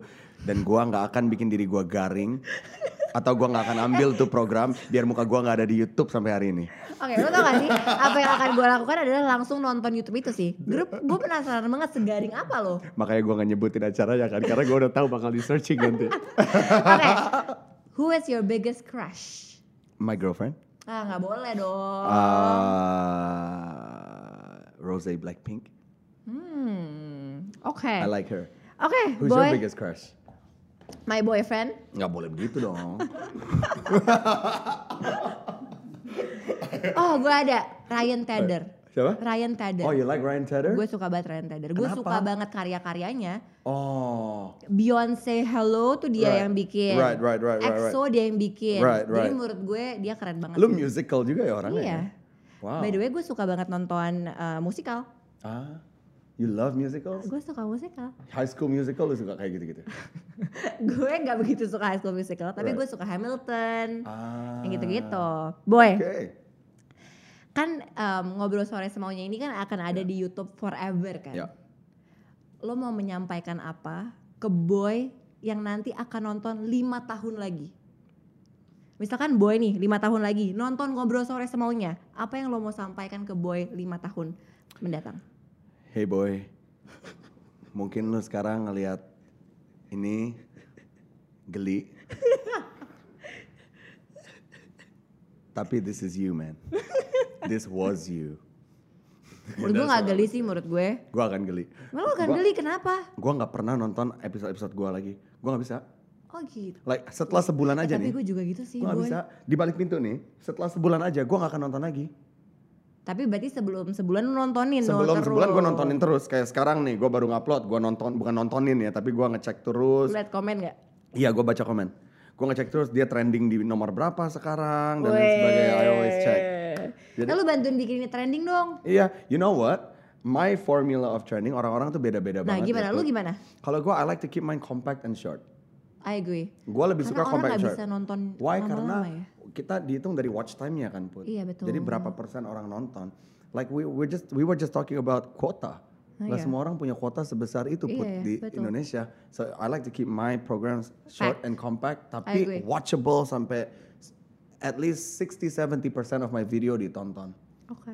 Speaker 2: dan gue nggak akan bikin diri gue garing atau gua nggak akan ambil tuh program biar muka gua nggak ada di YouTube sampai hari ini.
Speaker 1: Oke, lo tau gak sih apa yang akan gue lakukan adalah langsung nonton YouTube itu sih. Grup gue penasaran banget segaring apa lo.
Speaker 2: Makanya gua nggak nyebutin acaranya kan karena gua udah tahu bakal di searching nanti.
Speaker 1: Oke, who is your biggest crush?
Speaker 2: My girlfriend,
Speaker 1: Ah nggak boleh dong.
Speaker 2: Ah. uh, Rose Blackpink,
Speaker 1: Hmm, oke,
Speaker 2: I
Speaker 1: oke,
Speaker 2: like her. Who's
Speaker 1: boy,
Speaker 2: your biggest crush?
Speaker 1: my boyfriend.
Speaker 2: Nggak boleh begitu dong.
Speaker 1: Oh, gue ada Ryan Tedder.
Speaker 2: Siapa?
Speaker 1: Ryan Tedder.
Speaker 2: Oh, you like Ryan Tedder?
Speaker 1: Gue suka banget Ryan Tedder. Gue
Speaker 2: Kenapa?
Speaker 1: suka banget karya-karyanya.
Speaker 2: Oh,
Speaker 1: Beyonce Hello tuh dia
Speaker 2: Right.
Speaker 1: yang bikin.
Speaker 2: Right, right, right, right, right.
Speaker 1: EXO dia yang bikin.
Speaker 2: Right,
Speaker 1: Jadi
Speaker 2: right.
Speaker 1: menurut gue dia keren banget.
Speaker 2: lu musical juga ya orangnya.
Speaker 1: Iya.
Speaker 2: ya? Wow.
Speaker 1: By the way, gue suka banget nonton eh, musikal.
Speaker 2: Ah, you love musicals?
Speaker 1: Gue suka musikal.
Speaker 2: High School Musical lu suka kayak gitu-gitu?
Speaker 1: gue nggak begitu suka High School Musical, tapi
Speaker 2: Right.
Speaker 1: gue suka Hamilton,
Speaker 2: Ah.
Speaker 1: yang gitu-gitu. Boy,
Speaker 2: Oke.
Speaker 1: kan em, ngobrol sore semaunya ini kan akan ada di YouTube forever kan.
Speaker 2: Ya.
Speaker 1: Lo mau menyampaikan apa ke boy yang nanti akan nonton lima tahun lagi? Misalkan boy nih lima tahun lagi nonton ngobrol sore semaunya, apa yang lo mau sampaikan ke boy lima tahun mendatang?
Speaker 2: Hey boy, mungkin lu sekarang ngelihat ini geli. Tapi this is you man. This was you.
Speaker 1: Menurut gue nggak geli sih menurut gue.
Speaker 2: Gua akan geli.
Speaker 1: Malah lo akan
Speaker 2: Gua-
Speaker 1: geli kenapa?
Speaker 2: Gua nggak pernah nonton episode-episode gua lagi. Gua nggak bisa.
Speaker 1: Oh gitu.
Speaker 2: Like setelah sebulan
Speaker 1: Eh,
Speaker 2: aja
Speaker 1: tapi
Speaker 2: nih.
Speaker 1: gue juga gitu sih
Speaker 2: Gua nggak
Speaker 1: boy.
Speaker 2: bisa. Di balik pintu nih. Setelah sebulan aja, gua nggak akan nonton lagi.
Speaker 1: Tapi berarti sebelum sebulan lu nontonin dong
Speaker 2: Sebelum
Speaker 1: terus.
Speaker 2: sebulan gue nontonin terus. Kayak sekarang nih, gue baru ngupload. Gue nonton, bukan nontonin ya, tapi gue
Speaker 1: Lu
Speaker 2: ngecek terus.
Speaker 1: Liat komen gak?
Speaker 2: Iya, gue baca komen. Gue ngecek terus dia trending di nomor berapa sekarang dan lain
Speaker 1: Weh.
Speaker 2: sebagainya. I always check. Jadi-
Speaker 1: Nah, lu bantuin bikin ini trending dong.
Speaker 2: Iya, you know what? My formula of trending orang-orang tuh beda-beda
Speaker 1: Nah,
Speaker 2: banget.
Speaker 1: gimana?
Speaker 2: ya.
Speaker 1: Lu gimana?
Speaker 2: Kalau gue, I like to keep mine compact and short.
Speaker 1: I agree.
Speaker 2: Gue lebih
Speaker 1: Karena
Speaker 2: suka
Speaker 1: orang
Speaker 2: compact
Speaker 1: nggak
Speaker 2: and short.
Speaker 1: bisa nonton
Speaker 2: Why?
Speaker 1: lama-lama
Speaker 2: Karena
Speaker 1: ya.
Speaker 2: kita dihitung dari watch time-nya kan, Put.
Speaker 1: Iya, betul.
Speaker 2: Jadi berapa persen orang nonton? Like we we just we were just talking about
Speaker 1: Ah,
Speaker 2: quota. Nggak
Speaker 1: iya.
Speaker 2: semua orang punya kuota sebesar itu
Speaker 1: Iya,
Speaker 2: Put,
Speaker 1: iya,
Speaker 2: di
Speaker 1: betul.
Speaker 2: Indonesia. So I like to keep my programs short
Speaker 1: Packed.
Speaker 2: and compact
Speaker 1: agree.
Speaker 2: tapi watchable sampai s- at least 60-70% of my video ditonton.
Speaker 1: Oke.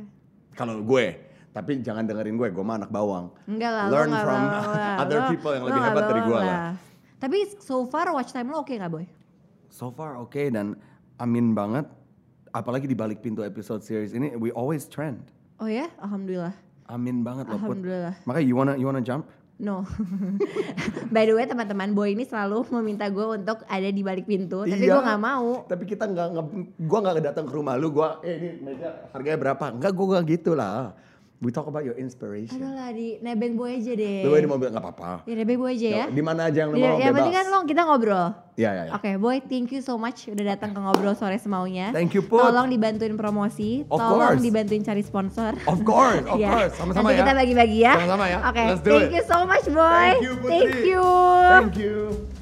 Speaker 2: Kalau gue, tapi jangan dengerin gue, gue mah anak bawang.
Speaker 1: Enggak lah.
Speaker 2: Learn
Speaker 1: lu nggak
Speaker 2: from
Speaker 1: bawang lah.
Speaker 2: other
Speaker 1: Lu-
Speaker 2: people yang
Speaker 1: lu
Speaker 2: lebih
Speaker 1: nggak
Speaker 2: hebat dari
Speaker 1: bawang
Speaker 2: gua lah.
Speaker 1: Tapi so far watch time lu oke nggak boy?
Speaker 2: So far oke dan amin banget apalagi di balik pintu episode series ini we always trend.
Speaker 1: Oh ya? Alhamdulillah.
Speaker 2: Amin banget loh Put.
Speaker 1: Alhamdulillah.
Speaker 2: Makanya you wanna you wanna jump?
Speaker 1: No. By the way teman-teman boy ini selalu meminta gue untuk ada di balik pintu. Tapi
Speaker 2: Iya.
Speaker 1: gue nggak mau.
Speaker 2: Tapi kita nggak nge- gua nggak datang ke rumah lu, gua eh ini meja harganya berapa? Enggak gua nggak gitu lah. We talk about your inspiration.
Speaker 1: Adalah di nebeng boy aja deh.
Speaker 2: Lu di mobil nggak apa-apa.
Speaker 1: Ya nebeng boy aja ya.
Speaker 2: Di mana aja yang Iya, lu
Speaker 1: Ya,
Speaker 2: mau
Speaker 1: yang
Speaker 2: bebas.
Speaker 1: penting kan lo kita ngobrol.
Speaker 2: Iya, iya, iya.
Speaker 1: Oke, boy, thank you so much udah datang ke ngobrol sore semaunya.
Speaker 2: Thank you, Put.
Speaker 1: Tolong dibantuin promosi,
Speaker 2: Of
Speaker 1: tolong
Speaker 2: course.
Speaker 1: dibantuin cari sponsor.
Speaker 2: Of course, of
Speaker 1: Ya,
Speaker 2: course.
Speaker 1: Nanti
Speaker 2: Sama-sama ya.
Speaker 1: kita bagi-bagi ya.
Speaker 2: Sama-sama ya.
Speaker 1: Oke,
Speaker 2: Let's do
Speaker 1: thank
Speaker 2: it.
Speaker 1: you so much, boy.
Speaker 2: Thank you, Putri.
Speaker 1: Thank you.
Speaker 2: Thank you.